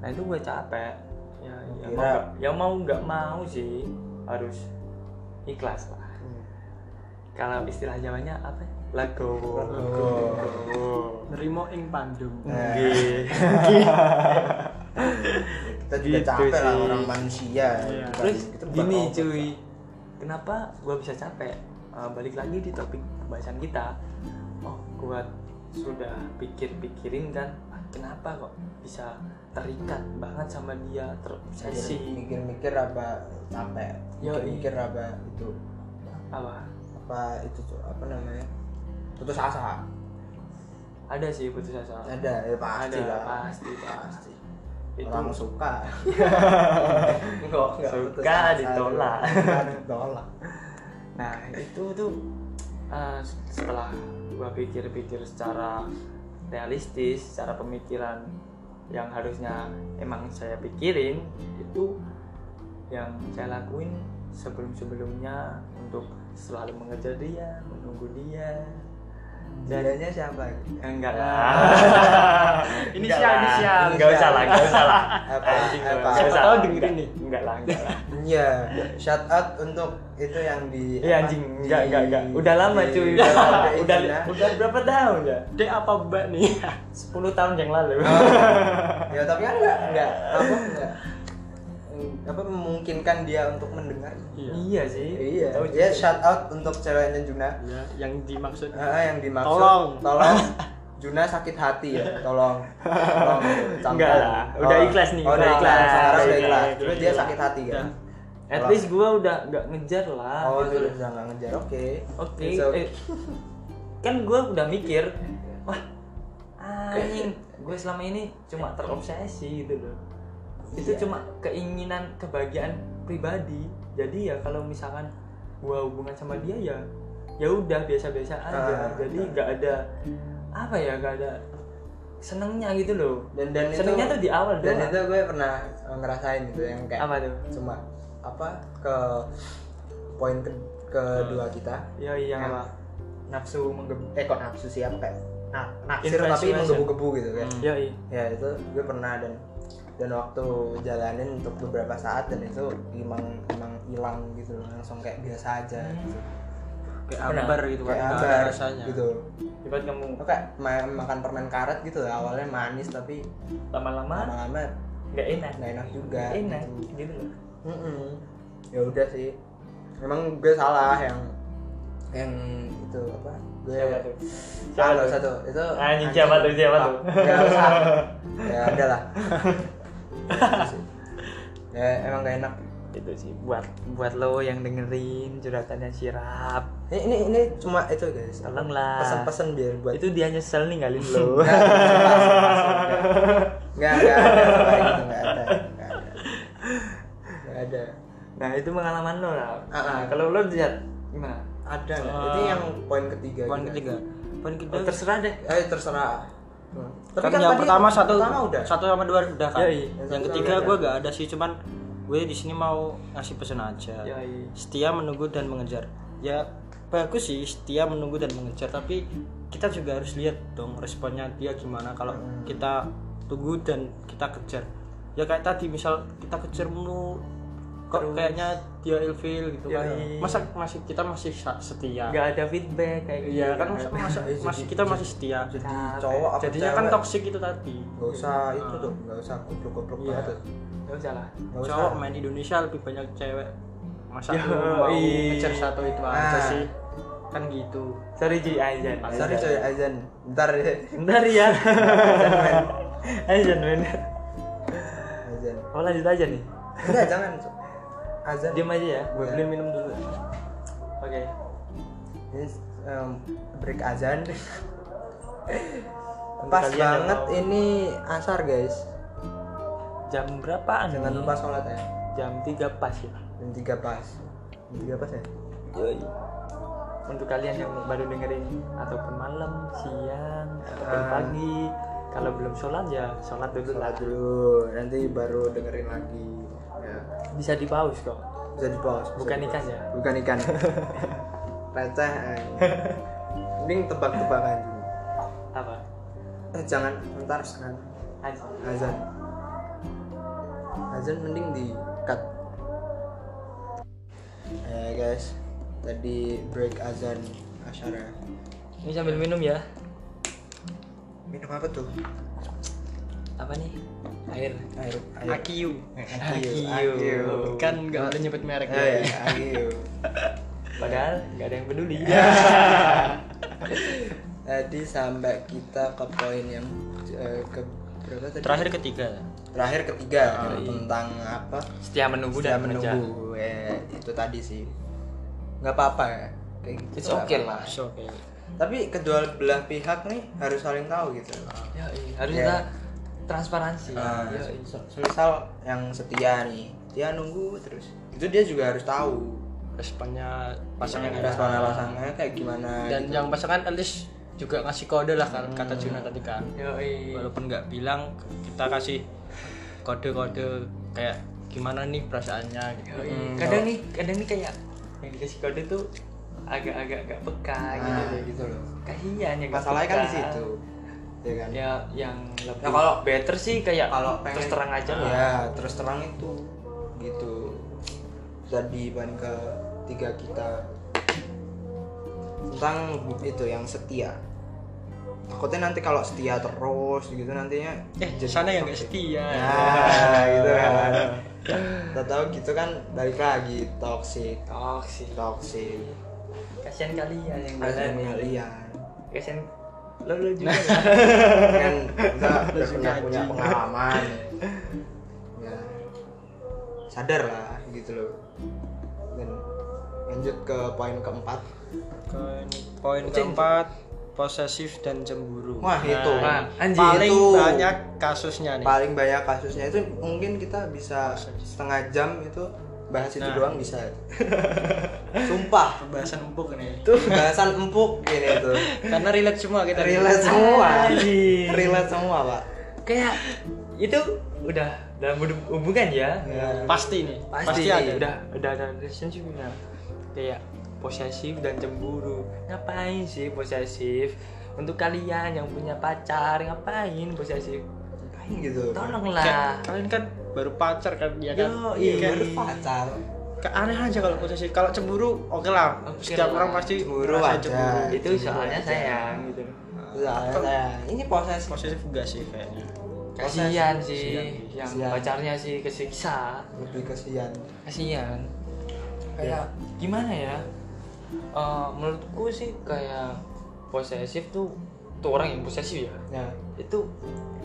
Speaker 2: nah itu gue capek ya, ya
Speaker 1: Kira-
Speaker 2: mau nggak- ya mau nggak mau sih harus ikhlas lah
Speaker 1: Hmm.
Speaker 2: kalau istilah zamannya apa ya? legowo
Speaker 1: Legowo.
Speaker 2: Legowo.
Speaker 3: nerimo ing pandum
Speaker 1: Nah,
Speaker 2: Nggih.
Speaker 1: kita juga
Speaker 2: gitu
Speaker 1: capek lah
Speaker 2: sih.
Speaker 1: orang manusia.
Speaker 3: Iya.
Speaker 1: Bukan-
Speaker 2: terus
Speaker 1: kita bukan
Speaker 2: gini
Speaker 1: robot.
Speaker 2: cuy kenapa gue bisa capek Eh, balik lagi di topik pembahasan kita oh gue sudah pikir-pikirin kan "Ah, kenapa kok bisa terikat banget sama dia
Speaker 1: Mikir-
Speaker 2: terobsesi
Speaker 1: mikir-mikir apa capek.
Speaker 2: Yoi.
Speaker 1: Mikir-mikir apa itu
Speaker 2: apa
Speaker 1: apa itu tuh apa namanya putus asa
Speaker 2: ada sih putus asa
Speaker 1: ada ya pasti
Speaker 2: Ada,
Speaker 1: lah
Speaker 2: pasti,
Speaker 1: pasti
Speaker 2: itu
Speaker 1: orang suka
Speaker 2: kok
Speaker 1: Nggak putus
Speaker 2: suka
Speaker 1: asa,
Speaker 2: ditolak
Speaker 1: suka ditolak
Speaker 2: nah itu tuh eh, setelah gua pikir-pikir secara realistis secara pemikiran yang harusnya emang saya pikirin itu yang saya lakuin sebelum-sebelumnya untuk selalu mengejar dia menunggu dia dan
Speaker 1: jadinya siapa
Speaker 2: enggak lah Enggak
Speaker 3: Inisial,
Speaker 2: lah.
Speaker 3: inisial.
Speaker 2: enggak usah lah enggak usah lah
Speaker 1: Apa,
Speaker 2: Anjing,
Speaker 1: apa.
Speaker 2: enggak
Speaker 1: Siapa
Speaker 2: usah
Speaker 3: tahu
Speaker 2: lah.
Speaker 3: dengerin
Speaker 2: Enggak,
Speaker 3: nih.
Speaker 2: enggak lah enggak lah
Speaker 1: iya shout out untuk itu yang di
Speaker 2: Iya
Speaker 1: apa,
Speaker 2: anjing,
Speaker 1: di-
Speaker 2: enggak enggak enggak. Udah lama
Speaker 1: di-
Speaker 2: cuy, udah lama.
Speaker 1: di-
Speaker 2: udah
Speaker 1: di-
Speaker 2: udah berapa tahun ya?
Speaker 3: dek apa mbak nih
Speaker 2: 10 tahun yang lalu.
Speaker 1: ya tapi kan enggak enggak apa enggak apa memungkinkan dia untuk mendengar
Speaker 2: iya sih.
Speaker 1: iya
Speaker 2: Tahu
Speaker 1: ya
Speaker 2: juga.
Speaker 1: shout out untuk ceweknya Juna
Speaker 3: ya yang dimaksud
Speaker 1: Ah, yang dimaksud
Speaker 3: Tolong.
Speaker 1: tolong Juna sakit hati ya tolong tolong campur.
Speaker 2: Enggak lah, udah ikhlas nih,
Speaker 1: oh,
Speaker 2: udah
Speaker 1: udah ikhlas
Speaker 2: ikhlas.
Speaker 1: sekarang udah
Speaker 2: Udah
Speaker 1: ikhlas
Speaker 2: ikhlas,
Speaker 1: terus
Speaker 2: udah
Speaker 1: dia
Speaker 2: ikhlas.
Speaker 1: sakit hati ya
Speaker 3: Udah.
Speaker 2: At least gua udah enggak ngejar lah
Speaker 1: oh
Speaker 2: gitu
Speaker 1: terus
Speaker 2: loh.
Speaker 1: udah nggak ngejar oke
Speaker 2: Oke.
Speaker 1: It's okay.
Speaker 2: eh, kan gua udah mikir, wah anjing, gue selama ini cuma terobsesi gitu loh. Itu
Speaker 1: Iya.
Speaker 2: cuma keinginan kebahagiaan pribadi. Jadi ya kalau misalkan gua hubungan sama dia ya ya udah biasa-biasa aja.
Speaker 1: Ah,
Speaker 2: Jadi
Speaker 1: ah.
Speaker 2: nggak ada apa ya, nggak ada senengnya gitu loh.
Speaker 1: dan dan itu
Speaker 2: senengnya tuh di awal
Speaker 1: dan
Speaker 2: doang.
Speaker 1: itu gue pernah eh, ngerasain gitu yang kayak
Speaker 2: Apa tuh?
Speaker 1: cuma apa ke poin ke, kedua kita
Speaker 2: Ya yang
Speaker 1: Yang
Speaker 2: apa?
Speaker 1: nafsu menggebu eh kok nafsu sih apa kayak
Speaker 2: Nah,
Speaker 1: na- naksir tapi
Speaker 2: Infatuation.
Speaker 1: menggebu-gebu gitu kan
Speaker 3: Hmm.
Speaker 2: Ya
Speaker 1: ya itu gue pernah dan dan waktu jalanin untuk beberapa saat dan itu emang emang hilang gitu loh, langsung kayak biasa aja
Speaker 2: Hmm.
Speaker 1: gitu.
Speaker 3: kayak
Speaker 2: Benar.
Speaker 3: ambar gitu kan
Speaker 1: kayak
Speaker 3: nggak
Speaker 1: apa
Speaker 3: ada rasanya
Speaker 1: gitu
Speaker 2: Hebat kamu.
Speaker 1: Lo kayak ma- makan permen karet gitu loh, awalnya manis tapi
Speaker 2: Lama-lama
Speaker 1: lama-lama
Speaker 2: nggak enak.
Speaker 1: nggak enak juga
Speaker 2: Nggak enak
Speaker 1: gitu.
Speaker 2: gitu loh.
Speaker 1: Mm-mm. ya udah sih emang gue salah yang yang itu apa gue
Speaker 2: Siapa tuh?
Speaker 1: Ah,
Speaker 2: Siapa
Speaker 1: nggak
Speaker 2: tuh?
Speaker 1: usah tuh itu
Speaker 2: Anjing, siapa tuh? Siapa
Speaker 1: Ah,
Speaker 2: tuh?
Speaker 1: nggak usah ya ada lah ya emang gak enak
Speaker 2: itu sih buat buat lo yang dengerin curhatannya sirap
Speaker 1: ini ini, ini cuma itu guys apa,
Speaker 2: Tolonglah.
Speaker 1: pesan-pesan biar buat
Speaker 2: Ah.
Speaker 1: Nah.
Speaker 2: itu dia nyesel ninggalin lo
Speaker 1: gitu, nggak nggak ada nggak ada nggak ada nggak ada
Speaker 2: nah itu pengalaman lo lah
Speaker 1: Ah, ah.
Speaker 2: Nah, kalau lo lihat gimana
Speaker 1: ada nggak? itu
Speaker 2: Ah.
Speaker 1: yang poin ketiga
Speaker 3: poin
Speaker 1: juga.
Speaker 3: ketiga poin ketiga
Speaker 2: Oh, terserah deh
Speaker 1: eh terserah Hmm.
Speaker 3: kan, yang
Speaker 1: tadi
Speaker 3: pertama satu
Speaker 1: pertama udah
Speaker 3: satu sama dua udah kan
Speaker 2: Ya, iya.
Speaker 3: yang
Speaker 1: Satu
Speaker 3: ketiga
Speaker 1: sama
Speaker 3: gue gak ada sih cuman gue di sini mau ngasih pesan aja
Speaker 1: Nah.
Speaker 2: ya iya.
Speaker 3: setia menunggu dan mengejar ya bagus sih setia menunggu dan mengejar tapi kita juga harus lihat dong responnya dia gimana kalau kita tunggu dan kita kejar ya kayak tadi misal kita kejar mulu kok kayaknya dia ilfil gitu
Speaker 2: Ya,
Speaker 3: kan
Speaker 2: iya.
Speaker 3: masa masih kita masih sa- setia
Speaker 2: nggak ada feedback kayak
Speaker 3: iya kan masa,
Speaker 2: Nggak ada.
Speaker 3: masa-
Speaker 1: Jadi-
Speaker 3: masih kita masih setia
Speaker 1: jadi
Speaker 2: Capek.
Speaker 1: cowok apa
Speaker 3: jadinya kan toksik itu tadi
Speaker 1: gak usah itu tuh gak usah kupluk kupluk
Speaker 3: Iya.
Speaker 1: banget tuh
Speaker 2: nggak usah lah
Speaker 1: Nggak usah.
Speaker 3: cowok main Indonesia lebih banyak cewek masa
Speaker 2: Ya,
Speaker 3: lu mau
Speaker 2: iya.
Speaker 3: ngejar satu itu aja
Speaker 1: Nah.
Speaker 3: sih kan gitu
Speaker 2: sorry Ji Ah, Aizan
Speaker 1: Ah, sorry coy Azan ntar deh
Speaker 2: bentar ya Aizan men
Speaker 1: Azan
Speaker 2: oh lanjut aja nih
Speaker 1: enggak jangan Azan
Speaker 2: diam aja ya gue
Speaker 1: Ya.
Speaker 2: beli minum dulu oke
Speaker 1: Ini em, um, break azan.
Speaker 2: Untuk
Speaker 1: Pas
Speaker 2: kalian yang
Speaker 1: banget
Speaker 2: mau-
Speaker 1: ini asar guys.
Speaker 2: jam berapaan
Speaker 1: Jangan
Speaker 3: Hmm.
Speaker 2: nih?
Speaker 1: lupa sholat ya.
Speaker 2: jam 3 pas ya
Speaker 1: Jam 3 pas. Jam 3 pas ya.
Speaker 2: untuk kalian yang baru dengerin ataupun malam siang ataupun
Speaker 1: Ah.
Speaker 2: pagi kalau belum sholat ya sholat dulu lah
Speaker 1: Sholat dulu. Nanti baru dengerin lagi. Ya.
Speaker 2: bisa di pause kok
Speaker 1: Bisa di pause. bisa
Speaker 2: bukan
Speaker 1: di
Speaker 2: ikan
Speaker 1: pause.
Speaker 2: ya
Speaker 1: Bukan ikan. Receh. eh. Mending tebak-tebakan dulu.
Speaker 2: apa
Speaker 1: Eh jangan ntar sekarang
Speaker 2: aja
Speaker 1: azan. Azan mending di cut. Eh guys, tadi break azan asyara.
Speaker 2: ini sambil minum ya
Speaker 1: Minum apa tuh?
Speaker 2: apa nih air
Speaker 1: Air.
Speaker 3: Akiu
Speaker 1: Akiu.
Speaker 3: kan nggak boleh nyebut merek
Speaker 1: Eh, ya, Akiu.
Speaker 2: padahal nggak ada yang peduli
Speaker 1: Ya. Tadi sampai kita ke poin yang eh, ke berapa tadi?
Speaker 3: ya. terakhir ketiga
Speaker 1: Terakhir ketiga tentang apa?
Speaker 2: setia Ah, iya. menunggu
Speaker 1: Setia
Speaker 2: dan mengejar
Speaker 1: menunggu. Eh, itu tadi sih. Nggak apa-apa ya. Kayak gitu
Speaker 2: it's
Speaker 1: nggak
Speaker 2: okay
Speaker 1: apa-apa.
Speaker 2: lah
Speaker 3: so oke
Speaker 1: Tapi kedua belah pihak nih harus saling tahu gitu.
Speaker 2: ya iya. harus
Speaker 1: Ya.
Speaker 2: kita transparansi
Speaker 1: Ah,
Speaker 2: Ya, iya.
Speaker 1: se- semisal yang setia nih, dia nunggu terus. Itu dia juga harus tahu
Speaker 3: responnya pasangan
Speaker 2: Iya.
Speaker 1: yang ada soal pasangannya kayak gimana
Speaker 3: dan
Speaker 1: gitu.
Speaker 3: yang pasangan at least juga ngasih kode lah kan kata Juna tadi kan
Speaker 2: Ya, iya.
Speaker 3: walaupun nggak bilang kita kasih kode-kode kayak gimana nih perasaannya gitu
Speaker 2: Yoi. kadang nih kadang nih kayak Hmm. yang dikasih kode tuh agak-agak agak peka gitu
Speaker 1: Nah, gitu loh.
Speaker 2: kasihan yang nggak
Speaker 1: masalahnya kan di
Speaker 2: peka.
Speaker 1: situ ya kan ya,
Speaker 2: ya yang lebih
Speaker 1: Ya, kalau-
Speaker 2: better sih kayak
Speaker 1: kalau pengen- Ah. Iya,
Speaker 2: terus terang aja lah
Speaker 1: terus terang itu gitu jadi ban ke tiga kita tentang itu yang setia takutnya nanti kalau setia terus gitu nantinya
Speaker 3: eh sana yang nggak setia
Speaker 1: ya gitu kan tak tahu gitu kan balik lagi toxic
Speaker 2: toxic
Speaker 1: toxic
Speaker 2: kasihan kalian yang
Speaker 1: harus
Speaker 2: bener
Speaker 1: kalian
Speaker 2: kasihan lo lo juga
Speaker 1: kan kita udah punya, punya pengalaman ya sadar lah gitu loh dan lanjut ke poin keempat
Speaker 3: Poin- poin keempat posesif dan cemburu
Speaker 1: wah itu
Speaker 2: Nah,
Speaker 1: paling
Speaker 2: anjir,
Speaker 3: paling
Speaker 1: banyak
Speaker 3: banyak kasusnya nih
Speaker 1: paling banyak kasusnya itu mungkin kita bisa setengah jam itu bahas itu
Speaker 3: Nah.
Speaker 1: doang bisa sumpah
Speaker 3: pembahasan empuk nih
Speaker 1: itu bahasan empuk gini itu
Speaker 3: karena relate semua kita
Speaker 1: relate semua
Speaker 2: Anjir.
Speaker 1: relate semua pak
Speaker 2: kayak itu udah dalam hub- hubungan ya
Speaker 3: pasti Iya. nih
Speaker 2: pasti,
Speaker 1: ada.
Speaker 2: Iya, udah udah ada relationship ya kayak posesif dan cemburu ngapain sih posesif untuk kalian yang punya pacar ngapain posesif
Speaker 1: ngapain gitu
Speaker 2: tolonglah
Speaker 3: kalian kan baru pacar kan ya kan
Speaker 2: Yo,
Speaker 1: iya
Speaker 2: iya.
Speaker 1: baru pacar
Speaker 3: Ke- aneh aja kalau posesif kalau cemburu oke lah
Speaker 2: Oke lah.
Speaker 3: setiap orang pasti
Speaker 1: Cemburu
Speaker 3: merasa
Speaker 1: wajar.
Speaker 2: itu soalnya sayang gitu
Speaker 3: Nah.
Speaker 1: Soalnya saya Nah, ini proses
Speaker 3: posesif enggak sih kayaknya
Speaker 2: kasihan sih
Speaker 3: Kasihan.
Speaker 2: yang
Speaker 1: Kasihan.
Speaker 2: pacarnya sih kesiksa
Speaker 1: lebih kesian
Speaker 2: kasihan kayak gimana ya Eh, menurutku sih kayak posesif tuh tuh orang yang posesif ya
Speaker 1: ya
Speaker 2: itu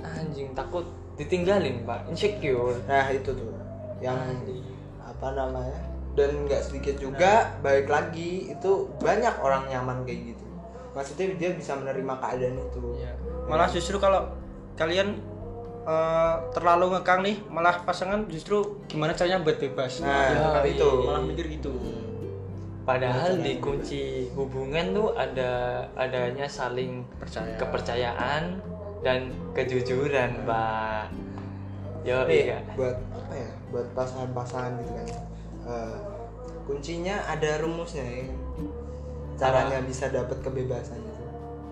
Speaker 2: anjing takut ditinggalin pak insecure
Speaker 1: nah itu tuh yang
Speaker 3: Ah, iya.
Speaker 1: apa namanya dan nggak sedikit juga
Speaker 3: Nah.
Speaker 1: balik lagi itu banyak orang nyaman kayak gitu
Speaker 3: Iya.
Speaker 1: maksudnya dia bisa menerima keadaan itu Ya.
Speaker 3: malah justru kalau kalian eh, terlalu ngekang nih malah pasangan justru gimana caranya buat bebas Iya.
Speaker 1: Nah, seperti
Speaker 2: Iya.
Speaker 1: itu.
Speaker 3: Ya,
Speaker 1: Iya,
Speaker 3: malah mikir gitu
Speaker 2: Padahal di kunci hubungan tuh ada adanya saling
Speaker 3: Percaya.
Speaker 2: kepercayaan dan kejujuran, Pak. Yo,
Speaker 1: Tapi
Speaker 2: iya.
Speaker 1: buat apa ya? Buat pasangan-pasangan gitu kan. Eh, kuncinya ada rumusnya ya. kan? Caranya
Speaker 3: Ah.
Speaker 1: bisa dapat kebebasan itu.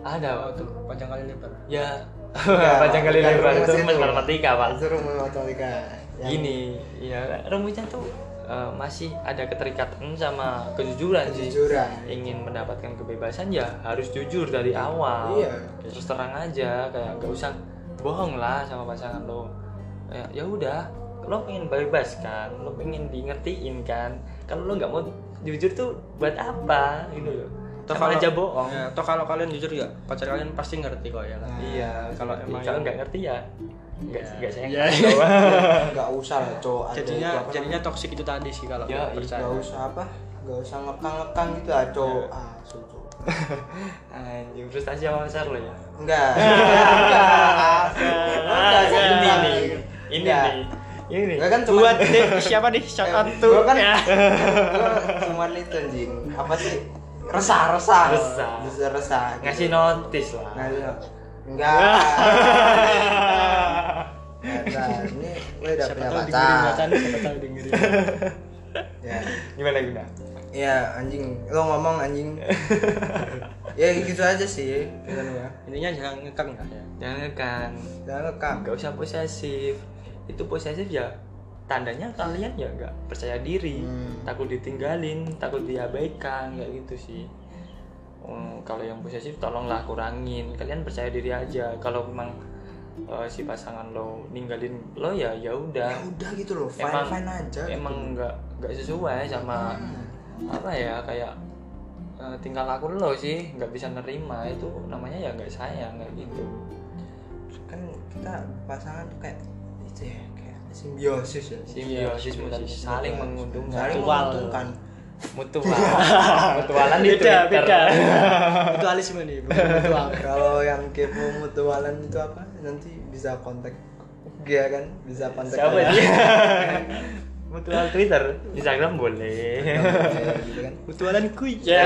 Speaker 2: Ada. Pak.
Speaker 3: waktu Nah, panjang kali lebar
Speaker 2: Ya,
Speaker 1: Enggak,
Speaker 2: panjang kali
Speaker 1: bukan
Speaker 2: lebar
Speaker 1: rumus
Speaker 2: itu
Speaker 1: itu.
Speaker 2: matematika, Pak.
Speaker 1: Itu rumus matematika. Yang-
Speaker 2: Gini,
Speaker 3: iya.
Speaker 2: ya rumusnya tuh eh, masih ada keterikatan sama kejujuran sih.
Speaker 1: Kejujuran.
Speaker 2: ingin mendapatkan kebebasan ya harus jujur dari awal Ya,
Speaker 1: Iya.
Speaker 2: terus terang aja kayak gak usah bohong lah sama pasangan lo Kayak, ya udah lo pengen bebas kan lo pengen diingetin kan kalau lo nggak mau jujur tuh buat apa gitu loh
Speaker 3: Toh
Speaker 2: sama aja bohong
Speaker 3: ya, toh kalau kalian jujur ya pacar kalian pasti ngerti kok ya kan
Speaker 2: iya
Speaker 3: kalau
Speaker 2: seperti-
Speaker 3: emang
Speaker 2: kalau
Speaker 3: yang-
Speaker 2: nggak ngerti ya nggak nggak sayang
Speaker 3: Iya.
Speaker 1: Nah. nggak usah lah cowok ada
Speaker 3: jadinya
Speaker 1: itu apa
Speaker 3: jadinya toksik itu tadi sih kalau
Speaker 2: Ya,
Speaker 3: nggak
Speaker 2: iya.
Speaker 1: nggak
Speaker 3: percaya
Speaker 1: usah apa nggak usah ngekang ngekang gitu lah cowok ah so cowok
Speaker 2: anjir frustasi sama pacar lo ya
Speaker 1: enggak enggak enggak
Speaker 2: Ah,
Speaker 1: saya
Speaker 2: ini
Speaker 1: bilang.
Speaker 2: nih ini
Speaker 1: Enggak.
Speaker 2: nih ini
Speaker 1: Gua Ya. kan cuma
Speaker 3: buat deh, siapa nih shout out
Speaker 1: Eh,
Speaker 3: tuh
Speaker 1: gua kan
Speaker 3: ya.
Speaker 1: gua cuman itu anjing apa sih resah resah
Speaker 2: Resah.
Speaker 1: resah resah gitu.
Speaker 2: ngasih Ya. notis lah
Speaker 1: Ngasih no- enggak Enggak, ini gue udah punya
Speaker 3: siapa tahu dengerin
Speaker 1: pacar
Speaker 3: macan siapa tahu dengerin
Speaker 1: ya
Speaker 2: gimana gimana
Speaker 1: ya anjing lo ngomong anjing ya gitu aja sih sebenarnya
Speaker 3: intinya jangan ngekang lah ya
Speaker 2: jangan kan
Speaker 1: jangan ngekang
Speaker 2: nggak usah posesif itu posesif ya tandanya kalian ya nggak percaya diri
Speaker 1: Hmm.
Speaker 2: takut ditinggalin takut diabaikan kayak gitu sih Hmm, kalau yang posesif tolonglah kurangin kalian percaya diri aja kalau memang eh, si pasangan lo ninggalin lo ya ya udah
Speaker 1: ya udah gitu loh fine
Speaker 2: Emang-
Speaker 1: fine aja gitu Hmm.
Speaker 2: emang nggak nggak sesuai sama apa ya kayak eh, tingkah laku lo sih nggak bisa nerima itu namanya ya nggak sayang kayak gitu
Speaker 1: kan kita pasangan tuh kayak itu ya kayak simbiosis ya
Speaker 2: simbiosis mutualisme, saling menguntungkan
Speaker 1: saling
Speaker 2: Mutual.
Speaker 1: menguntungkan
Speaker 2: mutual mutualan di Twitter.
Speaker 3: beda beda mutualisme nih bukan mutual
Speaker 1: kalau yang kepo mutualan itu apa nanti bisa kontak dia kan bisa kontak
Speaker 2: siapa
Speaker 1: saya.
Speaker 2: dia mutual Twitter Instagram boleh
Speaker 1: Kayak gitu kan
Speaker 3: mutualan kuy
Speaker 2: Iya.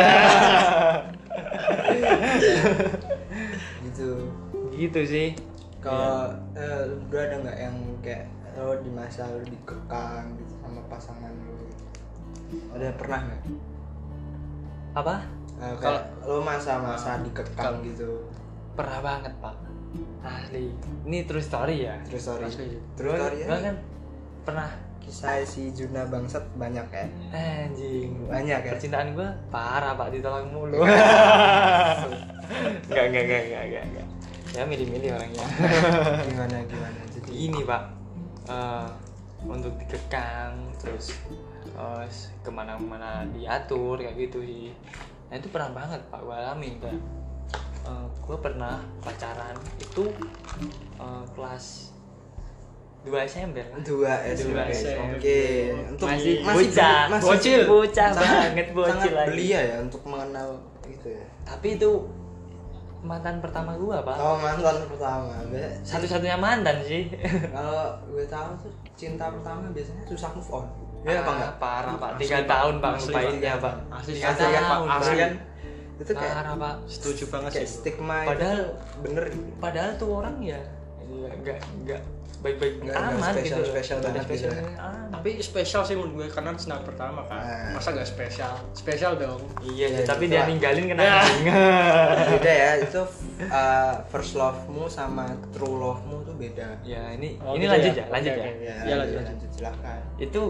Speaker 1: gitu
Speaker 2: gitu sih Iya.
Speaker 1: kalau eh, lu berdua ada nggak yang kayak lo di masa lu dikekang gitu sama pasangan lu gitu? ada pernah nggak
Speaker 2: apa
Speaker 1: Eh, kalau lo masa-masa
Speaker 2: Ah,
Speaker 1: dikekang gitu
Speaker 2: pernah banget pak ahli ini true story ya
Speaker 1: terus sorry
Speaker 3: Asli.
Speaker 1: terus
Speaker 2: Gua-
Speaker 1: sorry ya.
Speaker 2: gua kan pernah
Speaker 1: kisah si Juna bangsat banyak ya
Speaker 2: anjing
Speaker 1: banyak ya
Speaker 2: percintaan gue parah pak ditolak mulu nggak nggak nggak nggak nggak nggak. ya milih-milih orangnya
Speaker 1: gimana gimana jadi
Speaker 2: ini pak Eh, untuk dikekang terus eh, s- kemana-mana diatur kayak gitu sih nah itu pernah banget pak gue alamin kan gue pernah pacaran itu eh, kelas 2 SMP lah
Speaker 1: dua SMP
Speaker 2: Iya. Dua
Speaker 1: oke
Speaker 2: SMP.
Speaker 1: untuk
Speaker 2: masih, bocah bocil bocah banget bocil
Speaker 1: sangat
Speaker 2: lagi
Speaker 1: belia ya untuk mengenal gitu ya
Speaker 2: tapi itu mantan pertama gue pak
Speaker 1: kalau mantan pertama be-
Speaker 2: satu-satunya mantan sih
Speaker 1: kalau gue tahu tuh cinta pertama biasanya susah move on ya apa
Speaker 2: Ah,
Speaker 1: enggak
Speaker 2: parah pak
Speaker 3: Asli,
Speaker 2: tiga
Speaker 3: Pak.
Speaker 2: tahun pak
Speaker 3: Asli,
Speaker 2: ngelupainnya pak
Speaker 3: Asli, Nah,
Speaker 2: Tiga
Speaker 1: asli kan, Pak.
Speaker 2: tahun,
Speaker 1: Asli kan? itu kayak
Speaker 2: parah pak
Speaker 3: setuju banget
Speaker 1: kayak
Speaker 3: sih
Speaker 1: stigma itu
Speaker 2: padahal
Speaker 1: bener gitu
Speaker 2: padahal tuh orang ya nggak nggak baik-baik
Speaker 1: Nggak- nggak
Speaker 2: amat gitu loh.
Speaker 1: spesial-spesial
Speaker 2: Nggak
Speaker 1: banget gitu
Speaker 2: spesial
Speaker 1: ya.
Speaker 2: amat.
Speaker 3: tapi spesial sih menurut gue karena senang pertama
Speaker 1: Nah.
Speaker 3: kan masa gak spesial spesial dong
Speaker 2: iya
Speaker 1: Ya,
Speaker 2: sih, tapi
Speaker 1: gitu
Speaker 2: dia
Speaker 1: lah.
Speaker 2: ninggalin kenapa
Speaker 1: beda ya itu uh, first love-mu sama true love-mu tuh beda
Speaker 2: ya ini
Speaker 3: Oh,
Speaker 2: ini
Speaker 3: gitu
Speaker 2: lanjut ya,
Speaker 3: ya?
Speaker 2: lanjut
Speaker 3: Oke,
Speaker 2: ya
Speaker 3: oke.
Speaker 1: ya,
Speaker 3: Ya, lanjut,
Speaker 1: ya,
Speaker 3: lanjut.
Speaker 1: silakan
Speaker 2: itu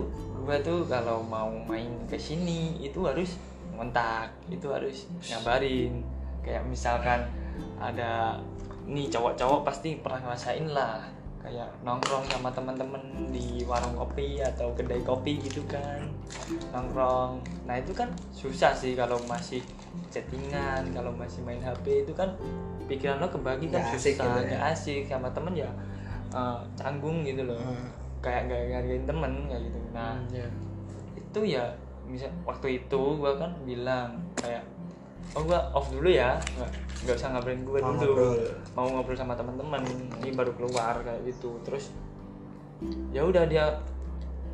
Speaker 2: gua tuh kalau mau main ke sini itu harus ngontak itu harus ngabarin kayak misalkan ada nih cowok-cowok pasti pernah ngerasain lah kayak nongkrong sama teman-teman di warung kopi atau kedai kopi gitu kan nongkrong nah itu kan susah sih kalau masih chattingan kalau masih main HP itu kan pikiran lo kebagi kan
Speaker 1: Nggak asik
Speaker 2: susah
Speaker 1: gitu ya.
Speaker 2: nggak asik sama temen ya eh, canggung gitu loh
Speaker 1: Hmm. iya.
Speaker 2: kayak nggak ngargain temen kayak gitu nah
Speaker 3: ya.
Speaker 2: itu ya misal waktu itu gua kan bilang kayak oh gua off dulu ya nggak- nggak usah ngabarin gue
Speaker 1: Mau
Speaker 2: dulu
Speaker 1: ngobrol.
Speaker 2: mau ngobrol sama teman-teman ini baru keluar kayak gitu terus ya udah dia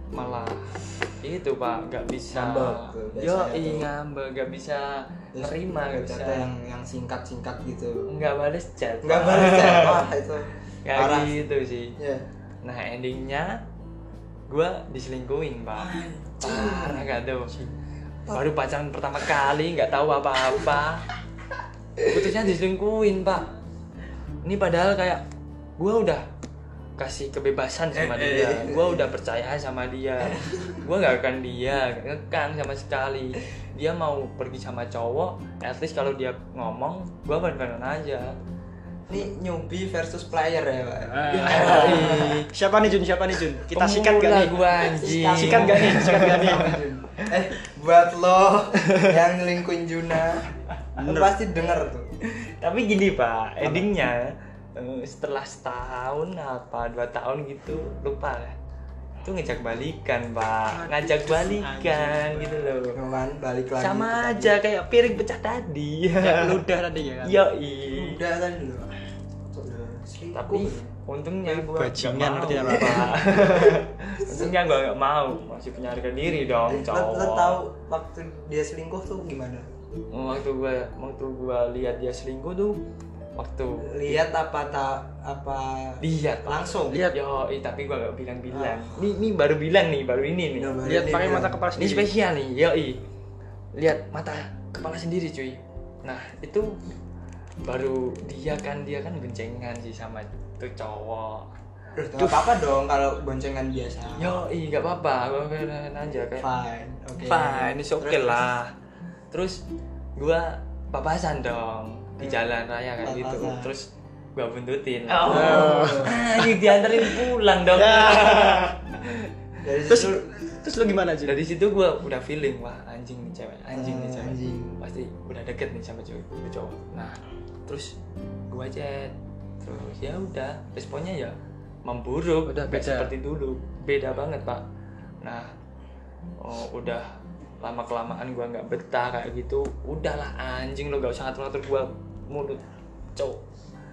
Speaker 2: malah itu pak nggak bisa
Speaker 1: Ngambek, biasanya
Speaker 2: yo
Speaker 1: tuh.
Speaker 2: ngambek nggak bisa
Speaker 1: Terus
Speaker 2: nerima nggak bisa
Speaker 1: chatnya yang yang singkat singkat gitu
Speaker 2: nggak balas chat
Speaker 1: nggak
Speaker 2: Pak.
Speaker 1: balas chat wah itu
Speaker 2: kayak
Speaker 1: parah
Speaker 2: gitu sih
Speaker 1: ya
Speaker 2: nah endingnya gue diselingkuhin pak parah gak tuh baru pacaran pertama kali nggak tahu apa-apa putusnya diselingkuhin pak ini padahal kayak gue udah kasih kebebasan sama
Speaker 1: Eh, eh,
Speaker 2: dia
Speaker 1: eh.
Speaker 2: gue udah percaya sama dia gue nggak akan dia ngekang sama sekali dia mau pergi sama cowok at least kalau dia ngomong gue bener aja
Speaker 1: ini newbie versus player ya pak
Speaker 3: Ah. siapa nih Jun siapa nih Jun kita sikat
Speaker 2: Nah.
Speaker 3: gak
Speaker 2: Pemula
Speaker 3: nih
Speaker 2: gua anjing
Speaker 3: sikat gak nih sikat gak nih
Speaker 1: eh buat lo yang ngelingkuin Juna lo pasti denger tuh
Speaker 2: tapi gini pak endingnya eh, setelah setahun apa dua tahun gitu lupa lah itu ngejak balikan pak ngajak balikan gitu loh
Speaker 1: Cuman balik lagi
Speaker 2: sama aja kayak piring pecah tadi
Speaker 3: ludah tadi
Speaker 2: Iya.
Speaker 3: ya kan
Speaker 2: yoi
Speaker 1: udah kan, gitu. tadi lo Udah,
Speaker 2: tapi
Speaker 1: selingkuh.
Speaker 2: untungnya gua
Speaker 3: Bajingan
Speaker 2: nggak mau,
Speaker 3: artinya apa?
Speaker 2: Pak. untungnya gua nggak mau masih punya harga diri dong
Speaker 1: Eh, lo, lo
Speaker 2: cowok
Speaker 1: tahu waktu dia selingkuh tuh gimana
Speaker 2: waktu gua waktu gua lihat dia selingkuh tuh waktu
Speaker 1: lihat apa tak apa
Speaker 2: lihat Pak.
Speaker 1: langsung
Speaker 3: Lihat.
Speaker 2: Yo, eh, tapi gua gak bilang-bilang. Nih, nih baru bilang nih, baru ini nih.
Speaker 1: Udah, Ah. Iya, baru
Speaker 3: lihat
Speaker 1: ini
Speaker 3: pakai
Speaker 1: dia.
Speaker 3: mata kepala
Speaker 2: Ini
Speaker 3: sendiri
Speaker 2: spesial nih, yo. Lihat mata kepala sendiri, cuy. Nah, itu baru dia kan dia kan goncengan sih sama tuh cowok.
Speaker 1: Gak apa-apa dong kalau boncengan biasa.
Speaker 2: Yo, gak apa-apa, gua pengen aja kayak
Speaker 1: Fine, oke.
Speaker 2: Fine, it's okay
Speaker 1: Terus,
Speaker 2: lah. Terus gua papasan dong di jalan raya kayak gitu.
Speaker 1: Hmm. Papasan.
Speaker 2: Terus gua buntutin.
Speaker 3: Oh.
Speaker 2: Ah, dianterin pulang dong.
Speaker 1: Ya. Dari
Speaker 3: terus
Speaker 1: situ-
Speaker 3: terus lu gimana Jun
Speaker 2: dari situ gue udah feeling wah anjing nih cewek anjing
Speaker 3: Ah,
Speaker 2: nih cewek
Speaker 1: Anjing.
Speaker 2: pasti udah deket nih sama cewek sama cowok nah terus gue chat terus ya udah responnya ya memburuk
Speaker 3: Udah
Speaker 2: Nggak
Speaker 3: beda.
Speaker 2: seperti dulu beda banget pak nah oh, udah lama kelamaan gue nggak betah kayak gitu udahlah anjing lo gak usah ngatur ngatur gue mulut cowok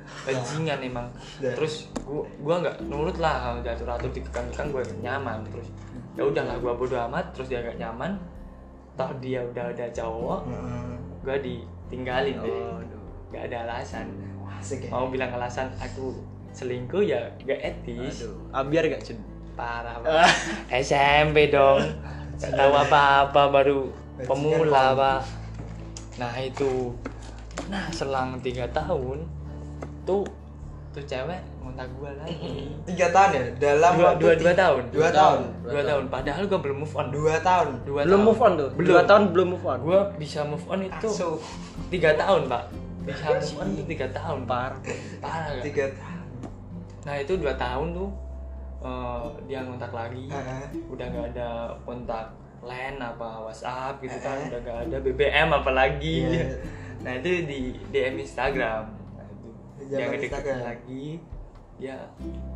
Speaker 3: Nah.
Speaker 2: bajingan emang
Speaker 1: Udah.
Speaker 2: terus gua gua nggak nurut lah diatur atur dikekang kekang gua nggak nyaman terus ya udahlah gua bodo amat terus dia nggak nyaman toh dia udah ada cowok
Speaker 1: Heeh.
Speaker 2: gua ditinggalin deh
Speaker 3: Oh, aduh.
Speaker 2: nggak ada alasan
Speaker 1: Asik ya.
Speaker 2: mau bilang alasan aku selingkuh ya gak etis
Speaker 3: Aduh, ambiar gak Ah, Jun?
Speaker 2: parah Pak. SMP dong gak tahu apa-apa baru
Speaker 1: Bajingan
Speaker 2: pemula
Speaker 1: kamu.
Speaker 2: pak nah itu nah selang tiga tahun tuh tuh cewek ngontak gue lagi
Speaker 1: Tiga tahun ya dalam
Speaker 2: dua,
Speaker 1: waktu
Speaker 2: dua,
Speaker 1: ti-
Speaker 2: dua tahun
Speaker 1: Dua tahun.
Speaker 2: dua, tahun padahal gue belum move on
Speaker 1: Dua tahun.
Speaker 2: dua
Speaker 3: Belum
Speaker 2: tahun.
Speaker 3: move on tuh.
Speaker 2: belum
Speaker 3: Dua tahun belum move on.
Speaker 2: gue bisa move on itu
Speaker 1: So,
Speaker 2: tiga tahun pak bisa move on itu tiga tahun parah parah gak?
Speaker 1: tiga tahun.
Speaker 2: nah itu dua tahun tuh eh, dia ngontak lagi
Speaker 1: Heeh.
Speaker 2: udah nggak ada kontak line apa WhatsApp gitu kan
Speaker 1: Eh.
Speaker 2: udah nggak ada BBM apalagi
Speaker 1: Iya.
Speaker 2: nah itu di DM Instagram nah, itu
Speaker 1: Di
Speaker 2: dia
Speaker 1: zaman
Speaker 2: ngedeketin
Speaker 1: Instagram.
Speaker 2: lagi ya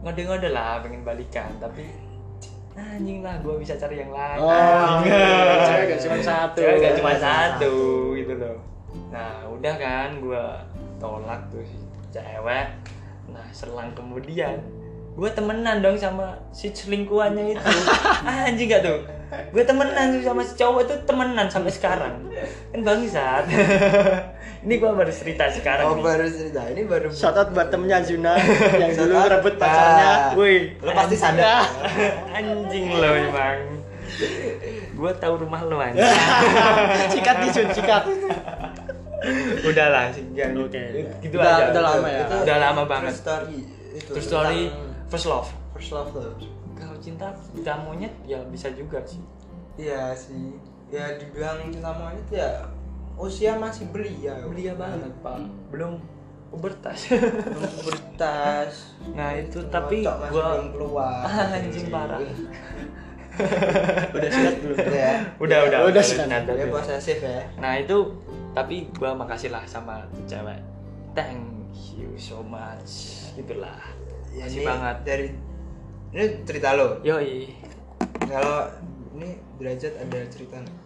Speaker 2: ngode-ngode lah pengen balikan tapi anjing lah gue bisa cari yang lain
Speaker 1: Oh,
Speaker 3: Oh,
Speaker 1: iya.
Speaker 3: enggak. Cewek gak cuma satu.
Speaker 2: Cewek Eh, gak cuma
Speaker 1: Cuma
Speaker 2: satu
Speaker 1: satu.
Speaker 2: gitu loh. Nah, udah kan gua tolak tuh si cewek. Nah, selang kemudian gua temenan dong sama si selingkuhannya itu. Ah, Anjing gak tuh? Gue temenan tuh sama si cowok itu temenan sampai sekarang. Kan bangsat. Ini gua baru cerita
Speaker 1: Oh
Speaker 2: sekarang nih.
Speaker 1: baru cerita ini baru.
Speaker 3: Shout out buat temennya Juna yang
Speaker 1: Shout
Speaker 3: dulu
Speaker 1: out.
Speaker 3: ngerebut pacarnya.
Speaker 1: Ah.
Speaker 3: Woi, Nah.
Speaker 1: Lo pasti sadar.
Speaker 2: Anjing lo emang. Gua tahu rumah lo anjing.
Speaker 3: sikat nih Jun, sikat.
Speaker 2: Udahlah, sekian.
Speaker 3: Oke.
Speaker 2: Gitu
Speaker 3: Udah-
Speaker 2: aja.
Speaker 3: udah lama ya?
Speaker 1: Iya. Itu
Speaker 2: Udah lama
Speaker 1: true
Speaker 2: banget.
Speaker 1: Story. Itu
Speaker 2: Terus story
Speaker 1: tentang
Speaker 2: first love.
Speaker 1: First love lo.
Speaker 2: Kalau cinta cinta monyet ya bisa juga sih.
Speaker 1: Iya sih. Ya dibilang cinta monyet ya usia masih belia.
Speaker 2: Belia banget pak, belum pubertas.
Speaker 1: Belum bertas.
Speaker 2: nah itu tapi
Speaker 1: Cocok masih
Speaker 2: gua
Speaker 1: belum keluar.
Speaker 2: Ah, iya. anjing parah.
Speaker 3: Udah sikat belum?
Speaker 1: ya.
Speaker 2: Udah udah
Speaker 3: Udah, sudah.
Speaker 2: Nah,
Speaker 1: Dia
Speaker 2: udah.
Speaker 1: posesif ya.
Speaker 2: Nah itu tapi gua makasih lah sama tuh cewek. Thank you so much. Gitulah.
Speaker 1: Ya,
Speaker 2: Makasih
Speaker 1: ini
Speaker 2: banget.
Speaker 1: Dari ini cerita lo.
Speaker 2: Yoi.
Speaker 1: Kalau ini derajat ada cerita nggak?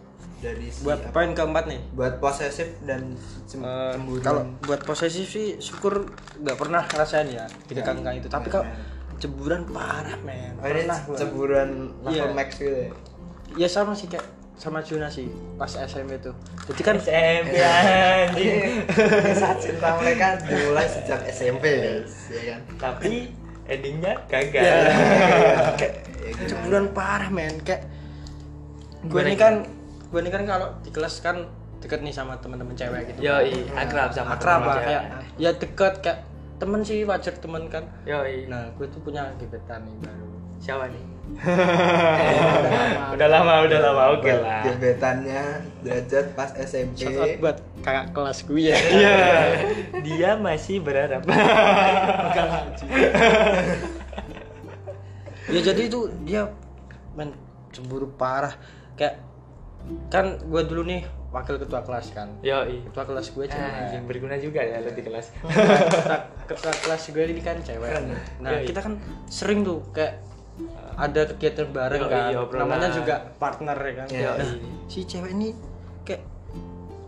Speaker 1: dari si
Speaker 3: buat
Speaker 1: apa-
Speaker 3: poin keempat nih
Speaker 1: buat posesif dan cem-
Speaker 3: Eh,
Speaker 1: cemburu
Speaker 3: kalau buat posesif sih syukur nggak pernah ngerasain ya di
Speaker 1: Ya,
Speaker 3: kekangkan itu tapi
Speaker 1: nggak
Speaker 3: kalau ceburan parah men
Speaker 1: oh, ini
Speaker 3: pernah gua.
Speaker 1: cemburuan level
Speaker 3: Iya.
Speaker 1: max gitu ya
Speaker 3: ya sama sih kayak sama Juna sih pas SMP itu jadi kan
Speaker 2: SMP anjing.
Speaker 1: Ini saat cinta mereka dimulai sejak SMP guys ya kan
Speaker 2: Tapi endingnya gagal.
Speaker 3: Ya.
Speaker 2: Iya.
Speaker 1: Kayak- ya gimana?
Speaker 3: ceburan parah men kayak gue
Speaker 2: Gimana
Speaker 3: ini kan gue ini kan kalau di kelas kan deket nih sama teman-teman cewek gitu
Speaker 2: Yoi, akrab sama
Speaker 3: akrab
Speaker 2: teman
Speaker 3: lah
Speaker 2: ya.
Speaker 3: kayak ya deket kayak temen sih wajar temen kan
Speaker 2: Yoi.
Speaker 3: nah gue tuh punya gebetan nih baru
Speaker 2: Siapa nih? udah lama, udah lama. Oke
Speaker 1: Buat
Speaker 2: lah.
Speaker 1: gebetannya derajat pas SMP
Speaker 3: shout out buat kakak kelas gue ya
Speaker 2: Iya. Dia masih berharap.
Speaker 3: ya jadi itu dia men cemburu parah kayak kan gue dulu nih wakil ketua kelas kan
Speaker 2: Yoi.
Speaker 3: ketua kelas gue
Speaker 2: Ah,
Speaker 3: cewek
Speaker 2: Anjing berguna juga ya lo di kelas.
Speaker 3: ketua, ketua kelas gue ini kan cewek
Speaker 2: ya?
Speaker 3: nah
Speaker 2: Yoi.
Speaker 3: kita kan sering tuh kayak ada kegiatan bareng
Speaker 2: Yoi,
Speaker 3: kan
Speaker 2: obrolan.
Speaker 3: namanya juga partner ya kan
Speaker 1: Yoi.
Speaker 3: Nah, si cewek ini kayak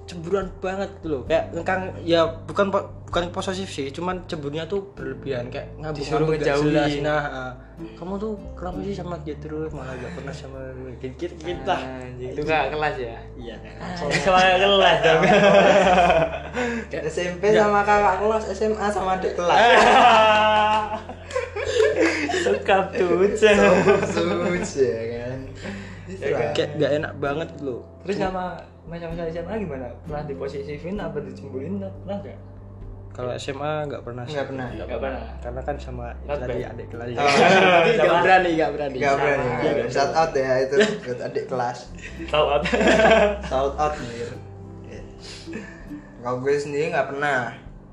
Speaker 3: cemburuan banget tuh loh kayak ngekang ya bukan po- bukan posesif sih cuman cemburunya tuh berlebihan kayak ngabuk
Speaker 2: Disuruh ngejauhin.
Speaker 3: jelas nah ah, kamu tuh kenapa sih sama dia terus malah gak pernah sama gue gitu gitu lah.
Speaker 2: Anjing, itu gak kelas ya.
Speaker 3: iya kan
Speaker 2: Sama kelas dong.
Speaker 1: SMP sama kakak kelas SMA sama adik kelas
Speaker 3: Eh,
Speaker 2: Suka tuh.
Speaker 1: Suci ya kan
Speaker 2: Ya,
Speaker 1: Itulah.
Speaker 3: kayak gak enak banget gitu loh
Speaker 2: Terus sama masa-masa SMA gimana? Pernah di posisi final apa dicemburin pernah gak?
Speaker 3: kalau SMA nggak pernah sih
Speaker 1: nggak pernah
Speaker 2: Gak pernah.
Speaker 3: karena kan sama itu
Speaker 2: Not
Speaker 3: tadi
Speaker 2: bad.
Speaker 3: adik kelas
Speaker 1: Oh.
Speaker 3: Tapi
Speaker 2: Sama.
Speaker 3: nggak
Speaker 2: Iya, kan?
Speaker 3: berani nggak berani
Speaker 1: nggak berani
Speaker 3: Sama.
Speaker 1: nggak berani. shout out ya itu buat adik kelas
Speaker 2: Tahu apa?
Speaker 1: shout out nih kalau gue sendiri nggak pernah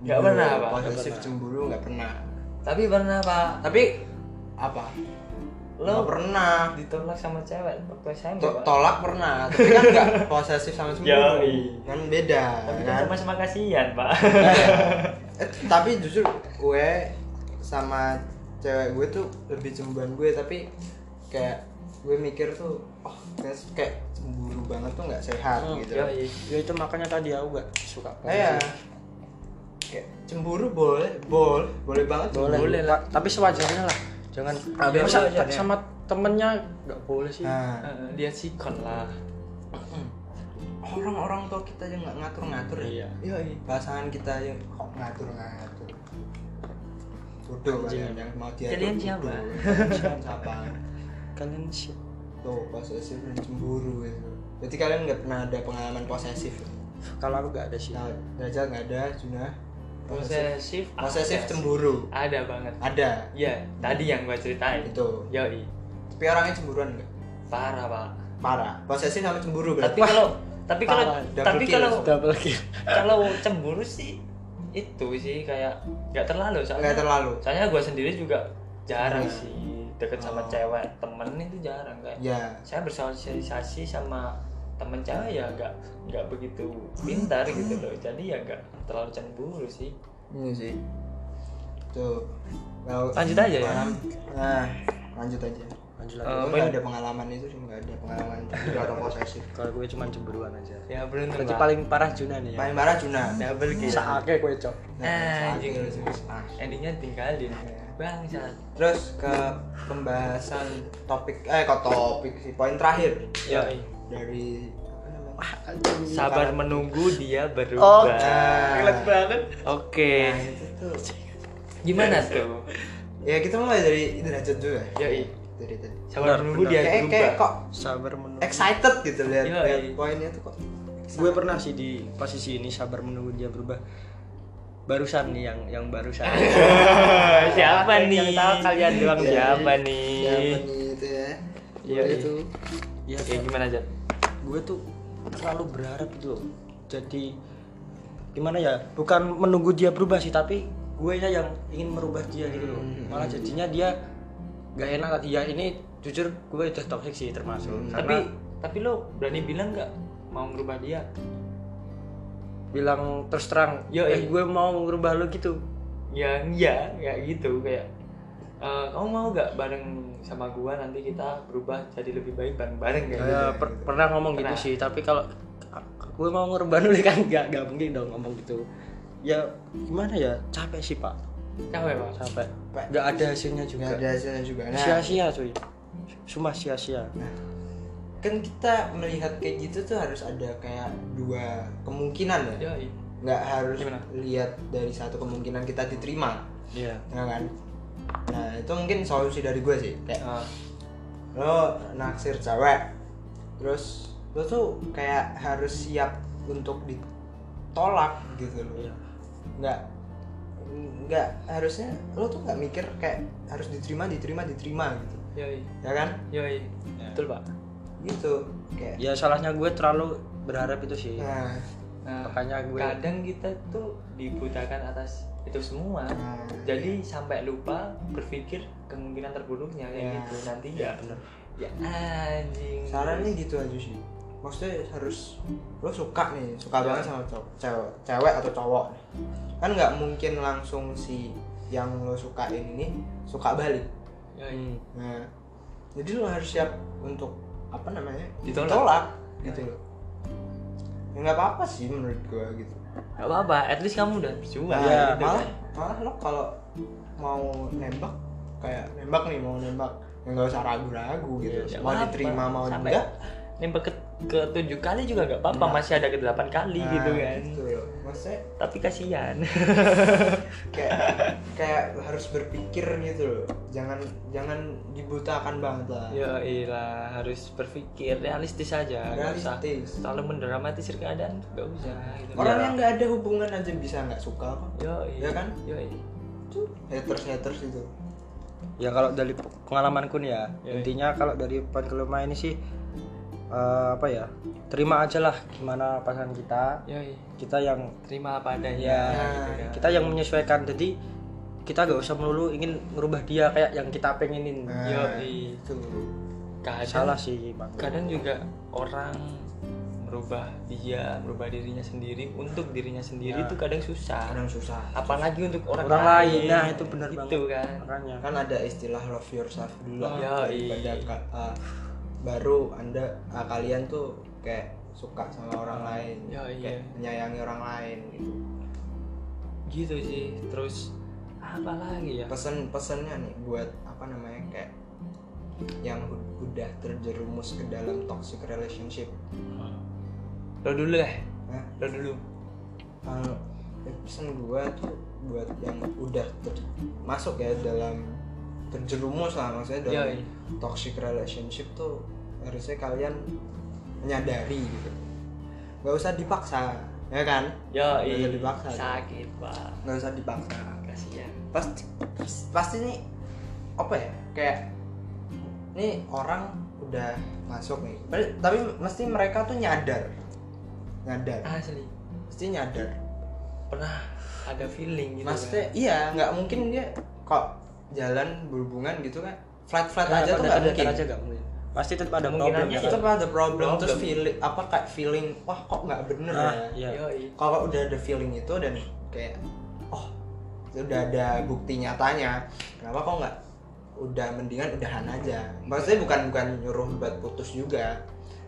Speaker 2: Nggak pernah apa?
Speaker 1: posesif cemburu nggak pernah
Speaker 2: Tapi pernah pak.
Speaker 1: tapi apa
Speaker 2: Lo
Speaker 1: nggak pernah
Speaker 2: ditolak sama cewek waktu SMP
Speaker 1: To-
Speaker 2: pak.
Speaker 1: tolak pernah tapi kan nggak posesif sama cemburu
Speaker 2: Yoi.
Speaker 1: kan beda
Speaker 2: iya. Tapi kan
Speaker 1: kan
Speaker 2: sama-sama kasihan pak.
Speaker 1: Eh, tapi jujur gue sama cewek gue tuh lebih cemburuan gue tapi kayak gue mikir tuh oh kayak, kayak cemburu banget tuh nggak sehat
Speaker 3: Hmm, Iya.
Speaker 1: gitu
Speaker 2: Yoi.
Speaker 3: ya itu makanya tadi aku nggak suka
Speaker 1: Nah, ya kayak cemburu boleh boleh boleh banget
Speaker 3: boleh,
Speaker 1: cemburu.
Speaker 3: lah Nah, tapi sewajarnya lah jangan
Speaker 2: Ah, biar
Speaker 3: masa
Speaker 2: sewajarnya.
Speaker 3: sama temennya nggak boleh sih
Speaker 1: nah
Speaker 2: Eh, Lihat sikon lah.
Speaker 1: orang-orang tua kita aja nggak ngatur-ngatur
Speaker 3: Iya.
Speaker 1: ya Yoi, pasangan kita aja kok ngatur-ngatur bodoh
Speaker 3: Anjing.
Speaker 1: kalian yang mau dia
Speaker 2: Kalian siapa?
Speaker 1: siapa
Speaker 3: kalian sih
Speaker 1: Tuh, posesif dan cemburu gitu. Berarti kalian nggak pernah ada pengalaman posesif?
Speaker 3: kalau aku nggak ada sih
Speaker 1: Nah, Raja nggak ada, Juna
Speaker 2: Posesif.
Speaker 1: Posesif
Speaker 2: ada.
Speaker 1: cemburu
Speaker 2: Ada banget.
Speaker 1: ada
Speaker 2: Iya, tadi yang gua ceritain.
Speaker 1: itu.
Speaker 2: Yoi.
Speaker 1: Tapi orangnya cemburuan nggak?
Speaker 2: Parah pak.
Speaker 1: Parah. Posesif sama cemburu
Speaker 2: Tapi
Speaker 1: berarti.
Speaker 2: kalau tapi kalau
Speaker 1: parah. Double
Speaker 2: tapi
Speaker 1: kill.
Speaker 2: kalau
Speaker 3: double kill
Speaker 2: kalau cemburu sih itu sih kayak nggak terlalu soalnya
Speaker 1: nggak terlalu.
Speaker 2: soalnya gue sendiri juga jarang
Speaker 1: Iya.
Speaker 2: sih deket sama
Speaker 1: Oh.
Speaker 2: cewek temen itu jarang kayak
Speaker 1: Ya.
Speaker 2: saya bersosialisasi sama temen cewek ya nggak nggak begitu pintar gitu loh jadi ya nggak terlalu cemburu sih
Speaker 1: Ini sih. Tuh. Kalau-
Speaker 2: Lanjut aja ya?
Speaker 1: Pengalaman- Nah, lanjut aja.
Speaker 3: lanjut
Speaker 2: Eh,
Speaker 3: lagi
Speaker 1: Gue
Speaker 2: poin-
Speaker 1: nggak ada pengalaman itu sih nggak ada pengalaman cemburu atau posesif.
Speaker 3: kalau gue cuma cemburuan aja
Speaker 2: ya belum
Speaker 3: berarti paling parah Juna
Speaker 2: Iya.
Speaker 3: nih ya
Speaker 1: Paling parah Juna.
Speaker 2: double kill
Speaker 3: saatnya gue cok
Speaker 1: Nah,
Speaker 2: Nah, Anjing.
Speaker 1: saat itu sih. Ah.
Speaker 2: endingnya tinggalin
Speaker 1: Iya.
Speaker 2: bangsat
Speaker 1: Terus ke pembahasan topik eh kok topik sih poin terakhir
Speaker 2: ya
Speaker 1: dari apa namanya?
Speaker 2: sabar menunggu dia
Speaker 3: Oh,
Speaker 2: berubah
Speaker 3: banget
Speaker 2: oke
Speaker 1: Nah, itu tuh.
Speaker 2: gimana tuh
Speaker 1: Ya kita mulai dari derajat dulu ya.
Speaker 2: Yoi.
Speaker 1: Dari tadi.
Speaker 2: sabar
Speaker 3: Benar,
Speaker 2: menunggu
Speaker 3: benar.
Speaker 2: dia
Speaker 1: Kayak
Speaker 2: berubah
Speaker 1: kayak kok
Speaker 3: sabar menunggu
Speaker 1: excited gitu lihat
Speaker 2: Yoi.
Speaker 1: lihat poinnya tuh kok.
Speaker 3: gue pernah sih di posisi ini sabar menunggu dia berubah barusan nih yang yang barusan
Speaker 2: siapa
Speaker 3: Yang
Speaker 2: nih?
Speaker 3: tahu kalian doang
Speaker 2: Bang,
Speaker 1: Iya.
Speaker 2: siapa nih?
Speaker 1: Siapa nih itu ya?
Speaker 2: Yoi.
Speaker 1: Boleh tuh.
Speaker 3: ya
Speaker 2: Oke, gimana Jat?
Speaker 3: gue tuh terlalu berharap gitu loh jadi gimana ya bukan menunggu dia berubah sih tapi gue ya yang ingin merubah dia gitu loh malah jadinya dia gak enak lagi ya ini jujur gue udah toxic sih termasuk
Speaker 2: Tapi
Speaker 3: tapi
Speaker 2: tapi lo berani bilang nggak mau merubah dia?
Speaker 3: bilang terus terang
Speaker 2: Yo, eh.
Speaker 3: eh, gue mau merubah lo gitu
Speaker 2: Ya iya, kayak gitu kayak eh, kamu mau gak bareng sama gua nanti kita berubah jadi lebih baik
Speaker 1: Iya.
Speaker 2: bareng-bareng kayak gitu.
Speaker 3: Ya, per- pernah ngomong
Speaker 2: Pernah.
Speaker 3: gitu sih tapi kalau gue mau ngorban dulu kan nggak nggak mungkin dong ngomong gitu ya gimana ya capek sih pak
Speaker 2: Capek pak.
Speaker 3: capek nggak ada hasilnya
Speaker 1: nggak
Speaker 3: juga
Speaker 1: ada hasilnya juga nah
Speaker 3: sia-sia cuy cuma sia-sia
Speaker 1: kan kita melihat kayak gitu tuh harus ada kayak dua kemungkinan ya
Speaker 2: Yoi.
Speaker 1: nggak harus
Speaker 2: Gimana?
Speaker 1: lihat dari satu kemungkinan kita diterima
Speaker 3: Iya.
Speaker 1: ya kan nah itu mungkin solusi dari gue sih kayak
Speaker 2: Ah,
Speaker 1: lo naksir cewek terus lo tuh kayak harus siap untuk ditolak gitu loh
Speaker 3: Iya.
Speaker 1: nggak nggak harusnya lo tuh nggak mikir kayak harus diterima diterima diterima gitu
Speaker 2: yoi.
Speaker 1: ya kan
Speaker 2: Yoi.
Speaker 3: Ya.
Speaker 2: Betul pak.
Speaker 1: gitu kayak
Speaker 3: ya salahnya gue terlalu berharap itu sih
Speaker 1: nah,
Speaker 2: Nah,
Speaker 3: Makanya gue-
Speaker 2: kadang kita tuh dibutakan atas itu semua.
Speaker 1: nah,
Speaker 2: Jadi sampai lupa berpikir kemungkinan terburuknya kayak
Speaker 1: Ya.
Speaker 2: gitu nanti
Speaker 3: ya
Speaker 2: ya.
Speaker 3: bener
Speaker 2: Ya anjing.
Speaker 1: sarannya gitu aja sih maksudnya harus lo suka nih
Speaker 2: Iya.
Speaker 1: suka banget sama cow- cewek cewek atau cowok nih kan nggak mungkin langsung si yang lo sukain ini suka balik
Speaker 2: Yoi.
Speaker 1: Nah, jadi lo harus siap untuk apa namanya?
Speaker 2: Ditolak. iya.
Speaker 1: gitu loh. Ya nggak apa-apa sih menurut gua gitu.
Speaker 2: Gak apa-apa, at least kamu udah berjuang
Speaker 1: Nah,
Speaker 3: Iya,
Speaker 2: gitu
Speaker 1: malah
Speaker 2: kan.
Speaker 1: malah lo kalau mau nembak kayak nembak nih mau nembak ya nggak usah ragu-ragu gitu.
Speaker 2: Ya,
Speaker 1: mau
Speaker 2: apa-apa.
Speaker 1: diterima mau
Speaker 2: Sampai
Speaker 1: enggak Iya.
Speaker 2: Nembak ke, ke tujuh kali juga gak apa-apa, masih ada ke delapan kali
Speaker 1: nah,
Speaker 2: gitu kan
Speaker 1: gitu loh. Maksudnya
Speaker 2: Tapi kasihan
Speaker 1: kayak kayak harus berpikir gitu loh. Jangan jangan dibutakan banget lah.
Speaker 2: Ya ilah, harus berpikir realistis aja nggak usah
Speaker 1: Realistis.
Speaker 2: terlalu mendramatisir keadaan, gak usah gitu.
Speaker 1: Orang
Speaker 3: Ya.
Speaker 1: yang nggak ada hubungan aja bisa nggak suka kok.
Speaker 2: Yoi.
Speaker 1: Ya kan?
Speaker 2: Yoi.
Speaker 1: Haters haters itu.
Speaker 3: ya kalau dari pengalamanku nih ya
Speaker 2: Iya.
Speaker 3: intinya kalau dari pan kelima ini sih eh, apa ya terima aja lah gimana pasangan kita
Speaker 2: Yoi.
Speaker 3: kita yang
Speaker 2: Terima apa adanya
Speaker 3: Ya,
Speaker 2: gitu kan.
Speaker 3: kita yang menyesuaikan jadi kita gak usah melulu ingin ngerubah dia kayak yang kita pengenin
Speaker 1: Nah,
Speaker 2: Iya, Yoi.
Speaker 1: itu.
Speaker 2: Kadang
Speaker 3: salah sih bang
Speaker 2: kadang juga orang merubah dia merubah dirinya sendiri untuk dirinya sendiri
Speaker 3: Ya.
Speaker 2: itu kadang susah
Speaker 1: Kadang susah.
Speaker 2: apalagi untuk orang,
Speaker 3: Orang lain, nah, itu benar
Speaker 2: itu kan
Speaker 3: makanya
Speaker 1: kan ada istilah love yourself dulu lah
Speaker 2: Ya,
Speaker 1: daripada
Speaker 2: iya.
Speaker 1: ka- ah, baru anda ah, kalian tuh kayak suka sama orang lain
Speaker 2: Ya,
Speaker 1: kayak
Speaker 2: iya.
Speaker 1: menyayangi orang lain gitu
Speaker 2: gitu sih terus apa lagi ya
Speaker 1: pesan pesannya nih buat apa namanya kayak yang u- udah terjerumus ke dalam toxic relationship
Speaker 2: lo dulu deh
Speaker 1: Hah?
Speaker 2: lo dulu
Speaker 1: Kalau pesan gua tuh buat yang udah ter- masuk ya dalam terjerumus lah maksudnya dalam
Speaker 2: Yoi.
Speaker 1: toxic relationship tuh harusnya kalian menyadari gitu nggak usah dipaksa ya kan
Speaker 2: ya
Speaker 1: Nggak usah dipaksa.
Speaker 2: sakit pak
Speaker 1: nggak usah dipaksa
Speaker 2: kasihan
Speaker 1: pasti pasti nih apa ya kayak nih orang udah masuk nih Tapi- tapi mesti mereka tuh nyadar nyadar
Speaker 2: asli
Speaker 1: mesti nyadar
Speaker 2: pernah ada feeling gitu
Speaker 1: maksudnya iya nggak mungkin dia kok jalan berhubungan gitu kan flat flat
Speaker 3: Nah,
Speaker 1: aja tuh
Speaker 3: pada
Speaker 1: nggak
Speaker 3: dasar
Speaker 1: mungkin
Speaker 3: aja nggak mungkin pasti tetap ada problem
Speaker 2: Kemungkinannya
Speaker 3: ya
Speaker 1: itu
Speaker 3: kan?
Speaker 1: ada problem terus
Speaker 2: Problem.
Speaker 1: feeling apa kayak feeling wah kok nggak bener
Speaker 3: Nah,
Speaker 1: ya
Speaker 3: iya.
Speaker 2: kan? Yoi.
Speaker 1: kalau udah ada feeling itu dan kayak oh udah ada bukti nyatanya kenapa kok nggak udah mendingan udahan aja maksudnya bukan bukan nyuruh buat putus juga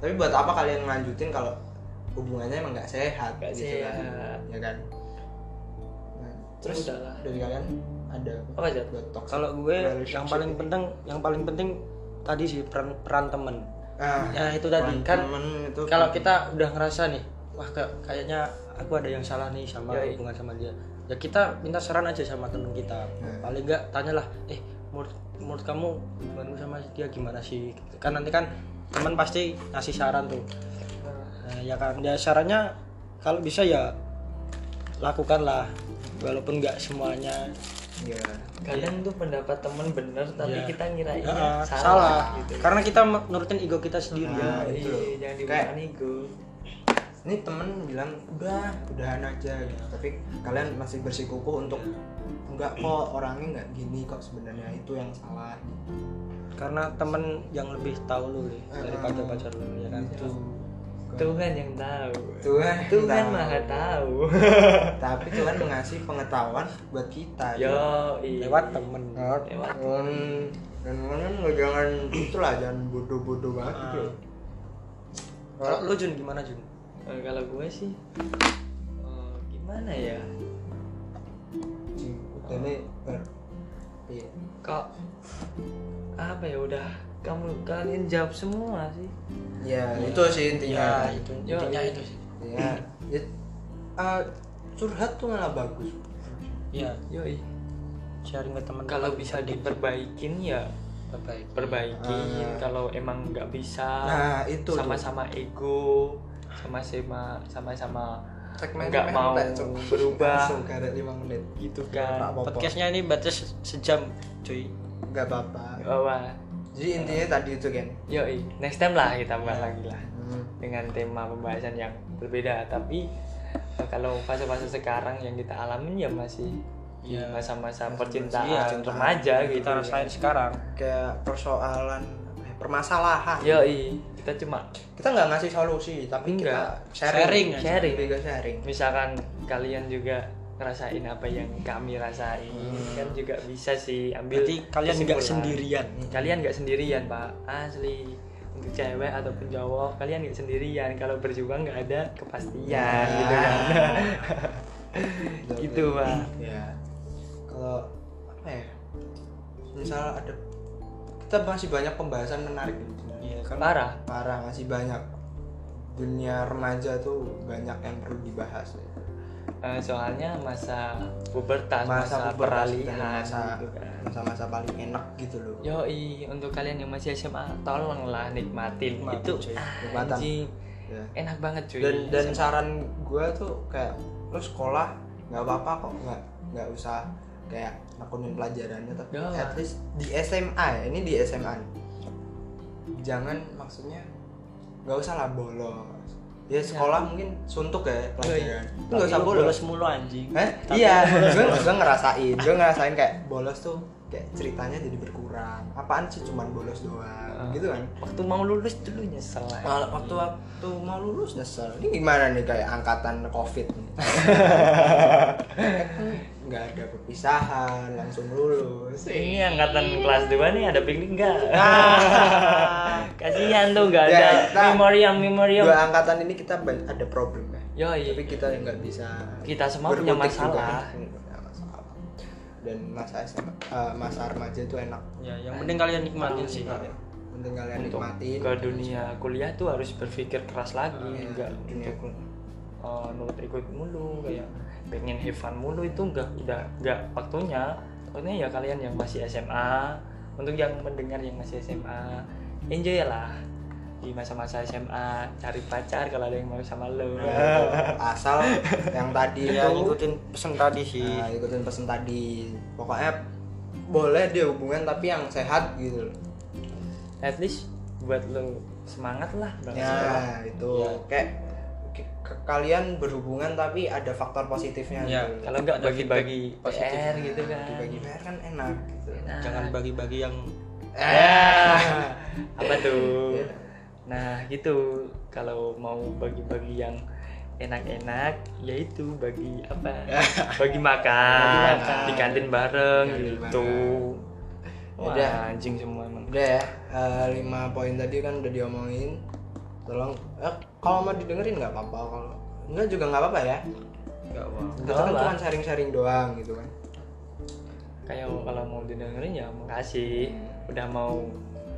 Speaker 1: tapi buat apa kalian lanjutin kalau hubungannya emang nggak sehat
Speaker 2: Nggak
Speaker 1: gitu
Speaker 2: sehat.
Speaker 1: kan ya kan Nah, terus
Speaker 2: Udah lah.
Speaker 1: dari kalian ada
Speaker 2: Apa, Zat?
Speaker 1: buat toxic
Speaker 3: kalau gue yang
Speaker 1: relationship?
Speaker 3: paling penting yang paling penting tadi sih peran peran temen
Speaker 1: ah,
Speaker 3: ya itu tadi
Speaker 1: teman-
Speaker 3: kan
Speaker 1: teman itu
Speaker 3: kalau kita udah ngerasa nih wah kayak- kayaknya aku ada yang salah nih sama
Speaker 2: Yoi.
Speaker 3: hubungan sama dia ya kita minta saran aja sama temen kita
Speaker 1: Hmm.
Speaker 3: paling nggak tanyalah eh menurut menurut kamu hubunganmu sama dia gimana sih kan nanti kan teman pasti ngasih saran tuh Nah, ya kan ya sarannya kalau bisa ya lakukanlah walaupun nggak semuanya
Speaker 1: ya
Speaker 2: kadang tuh pendapat temen bener tapi
Speaker 3: Iya.
Speaker 2: kita ngira iya
Speaker 3: Ah,
Speaker 2: salah,
Speaker 3: salah,
Speaker 2: gitu
Speaker 3: karena kita nurutin ego kita sendiri ya.
Speaker 1: Nah,
Speaker 2: Yoi,
Speaker 1: itu loh.
Speaker 2: jangan
Speaker 1: Kayak-
Speaker 2: dibilang ego
Speaker 1: ini temen bilang udah udahan aja gitu tapi kalian masih bersikukuh untuk enggak kok orangnya nggak gini kok sebenarnya itu yang salah gitu
Speaker 3: karena temen yang lebih tahu lu nih
Speaker 1: Ah.
Speaker 3: daripada pacar lu ya kan
Speaker 1: Gitu.
Speaker 2: Tuhan yang tahu.
Speaker 1: Tuhan yang
Speaker 2: Tuhan
Speaker 1: tahu.
Speaker 2: maha tahu.
Speaker 1: tapi Tuhan mengasih pengetahuan buat kita gitu.
Speaker 2: Yo, iya.
Speaker 3: lewat temen
Speaker 1: Lewat.
Speaker 2: Lewat.
Speaker 1: dan dan kalian kan nggak jangan itulah jangan bodoh-bodoh banget gitu loh.
Speaker 3: kalau lu Jun gimana Jun
Speaker 2: Eh, kalau gue sih eh, gimana ya?
Speaker 1: Hmm, dan ini ber- iya.
Speaker 2: Kok apa ya udah kamu kalian jawab semua sih.
Speaker 1: ya itu sih intinya
Speaker 3: itu
Speaker 2: Yo,
Speaker 3: intinya
Speaker 2: iya.
Speaker 3: itu sih
Speaker 1: ya it- eh, curhat tuh malah bagus
Speaker 3: ya
Speaker 2: Yoi.
Speaker 3: sharing ke temen
Speaker 2: iya. Kalau bisa diperbaikin ya
Speaker 3: terbaik
Speaker 2: perbaikin.
Speaker 1: Ah.
Speaker 2: Kalau emang nggak bisa
Speaker 1: nah itu tuh.
Speaker 2: sama-sama ego, sama-sama sama-sama
Speaker 1: Segmen
Speaker 2: nggak
Speaker 1: memang
Speaker 2: mau
Speaker 1: nggak, Cuk.
Speaker 2: berubah
Speaker 1: langsung karet lima menit
Speaker 2: gitu
Speaker 1: nggak
Speaker 2: kan.
Speaker 1: apa-apa
Speaker 3: podcastnya ini batas sejam cuy
Speaker 1: nggak apa-apa
Speaker 2: Wah,
Speaker 1: jadi intinya tadi itu kan
Speaker 2: yoi. Next time lah kita
Speaker 1: Ya.
Speaker 2: bahas lagi lah. dengan tema pembahasan yang berbeda tapi eh, kalau fase-fase sekarang yang kita alamin ya masih di
Speaker 3: Iya.
Speaker 2: masa-masa
Speaker 1: Masih- ya,
Speaker 2: percintaan
Speaker 3: iya,
Speaker 1: cintaan.
Speaker 2: remaja gitu
Speaker 3: kita rasain sekarang
Speaker 1: kayak persoalan eh, permasalahan
Speaker 2: yoi kita cuma
Speaker 1: kita nggak ngasih solusi tapi
Speaker 2: Enggak.
Speaker 1: kita sharing
Speaker 3: Sharing aja.
Speaker 2: Sharing.
Speaker 1: Lebih ke sharing
Speaker 2: misalkan kalian juga ngerasain apa yang kami rasain
Speaker 1: Hmm.
Speaker 2: kan juga bisa sih ambil
Speaker 3: berarti kalian nggak
Speaker 2: kesimpulan.
Speaker 3: sendirian
Speaker 2: kalian nggak sendirian pak asli untuk cewek ataupun cowok kalian nggak sendirian kalau berjuang nggak ada kepastian
Speaker 1: Ya.
Speaker 2: gitu kan gitu pak
Speaker 1: ya kalau apa ya misal ada kita masih banyak pembahasan menarik
Speaker 3: Iya, kan
Speaker 2: parah
Speaker 1: parah masih banyak dunia remaja tuh banyak yang perlu dibahas ya.
Speaker 2: Eh, soalnya masa pubertas masa,
Speaker 1: masa pubertas kita
Speaker 2: peralihan
Speaker 1: masa
Speaker 2: gitu kan.
Speaker 1: masa-masa paling enak gitu loh
Speaker 2: Yoi, untuk kalian yang masih SMA, tolonglah nikmatin
Speaker 3: Nikmatin,
Speaker 2: itu.
Speaker 3: cuy.
Speaker 1: Nikmatan.
Speaker 2: Anjing,
Speaker 1: Ya.
Speaker 2: enak banget cuy.
Speaker 1: dan dan saran gue tuh kayak lu sekolah nggak apa-apa kok nggak nggak usah kayak nekunin pelajarannya tapi
Speaker 2: Nggak.
Speaker 1: at least di SMA ya ini di SMA nih. jangan maksudnya nggak usah lah bolos ya sekolah mungkin suntuk ya pelajaran Lu nggak usah
Speaker 3: Tapi lu
Speaker 1: bolos
Speaker 3: mulu anjing
Speaker 2: Eh,
Speaker 1: Hah?
Speaker 3: Tapi
Speaker 1: iya
Speaker 3: lu bolos
Speaker 1: gue gue ngerasain gue ngerasain kayak bolos tuh kayak ceritanya jadi berkurang apaan sih cuman bolos doang
Speaker 2: Ah.
Speaker 1: gitu kan
Speaker 2: waktu mau lulus dulu nyesel lah.
Speaker 1: Mal- waktu waktu mau lulus nyesel. Ini gimana nih kayak angkatan Covid nih. nggak ada perpisahan, langsung lulus.
Speaker 2: Ini angkatan kelas 2 nih ada piknik enggak?
Speaker 1: Ah.
Speaker 2: Kasihan tuh enggak ada
Speaker 1: Ya, kita-
Speaker 2: memoriam memoriam.
Speaker 1: Dua angkatan ini kita ban- ada problem ya. Tapi
Speaker 2: Yoi,
Speaker 1: kita nggak bisa
Speaker 2: Kita semua punya
Speaker 1: berkutik juga.
Speaker 2: masalah.
Speaker 1: Hmm, punya masalah. Dan masa SMA, eh, masa remaja itu enak.
Speaker 3: ya yang penting kalian nikmatin sih
Speaker 2: Iya.
Speaker 1: Penting kalian
Speaker 2: untuk
Speaker 1: nikmatin.
Speaker 2: ke dunia kuliah tuh harus berpikir keras lagi,
Speaker 1: Ya,
Speaker 2: enggak
Speaker 1: dunia kuliah.
Speaker 2: uh, nurut ikut mulu kayak pengen have fun mulu itu enggak udah enggak waktunya waktunya ya kalian yang masih SMA untuk yang mendengar yang masih SMA enjoy lah di masa-masa SMA cari pacar kalau ada yang mau sama lo
Speaker 1: Iya. Asal yang tadi
Speaker 3: ya
Speaker 1: itu
Speaker 3: ngikutin pesan tadi sih
Speaker 1: Nah, ikutin pesan tadi. Pokoknya boleh deh hubungan tapi yang sehat gitu loh.
Speaker 2: at least buat lo semangat lah berangkat sekolah.
Speaker 1: Ya, itu
Speaker 2: Iya.
Speaker 1: kayak ke- ke- kalian berhubungan tapi ada faktor positifnya
Speaker 3: Ya,
Speaker 1: gitu.
Speaker 2: kalau enggak
Speaker 3: Ada feedback
Speaker 2: bagi-bagi
Speaker 3: positif.
Speaker 2: PR Iya. gitu kan
Speaker 1: Dibagi PR kan enak gitu. Eh.
Speaker 2: Nah,
Speaker 3: jangan bagi-bagi yang
Speaker 2: Ah, apa tuh?
Speaker 1: Iya.
Speaker 2: Nah, gitu. Kalau mau bagi-bagi yang enak-enak, yaitu bagi apa? Bagi makan, di kantin bareng
Speaker 1: Di kantin
Speaker 2: gitu. Wah,
Speaker 1: Udah.
Speaker 2: anjing semua emang.
Speaker 1: Udah ya, eh, lima poin tadi kan udah diomongin. Tolong eh, kalau mau didengerin nggak apa-apa kalau enggak juga nggak apa-apa ya.
Speaker 3: enggak
Speaker 1: Kita
Speaker 2: Nggak
Speaker 1: kan
Speaker 2: apa.
Speaker 1: cuma sharing-sharing doang gitu kan.
Speaker 2: Kayak kalau mau didengerin ya makasih udah mau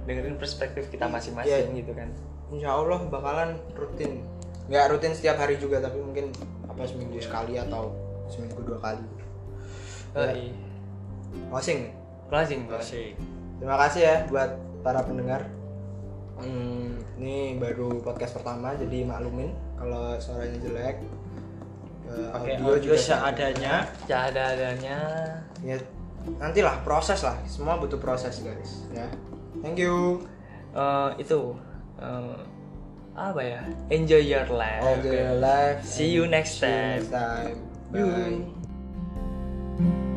Speaker 2: dengerin perspektif kita masing-masing gitu kan.
Speaker 1: Insya Allah bakalan rutin. Nggak rutin setiap hari juga tapi mungkin apa seminggu sekali atau seminggu dua kali.
Speaker 2: Yoi.
Speaker 1: Closing.
Speaker 2: Oh, iya. Closing, Bro.
Speaker 3: sih
Speaker 1: Terima kasih ya buat para pendengar. Hmm, ini baru podcast pertama jadi maklumin kalau suaranya jelek. Eh,
Speaker 3: pakai audio
Speaker 1: juga
Speaker 3: seadanya
Speaker 2: Ya ada-adanya.
Speaker 1: Ya nantilah proses lah. Semua butuh proses guys. Ya. Thank you.
Speaker 2: Eh, itu eh, apa ya? Oh, Enjoy your life.
Speaker 1: All the life.
Speaker 2: See you next
Speaker 1: See you
Speaker 2: time.
Speaker 1: next time. Bye.
Speaker 2: Yuk.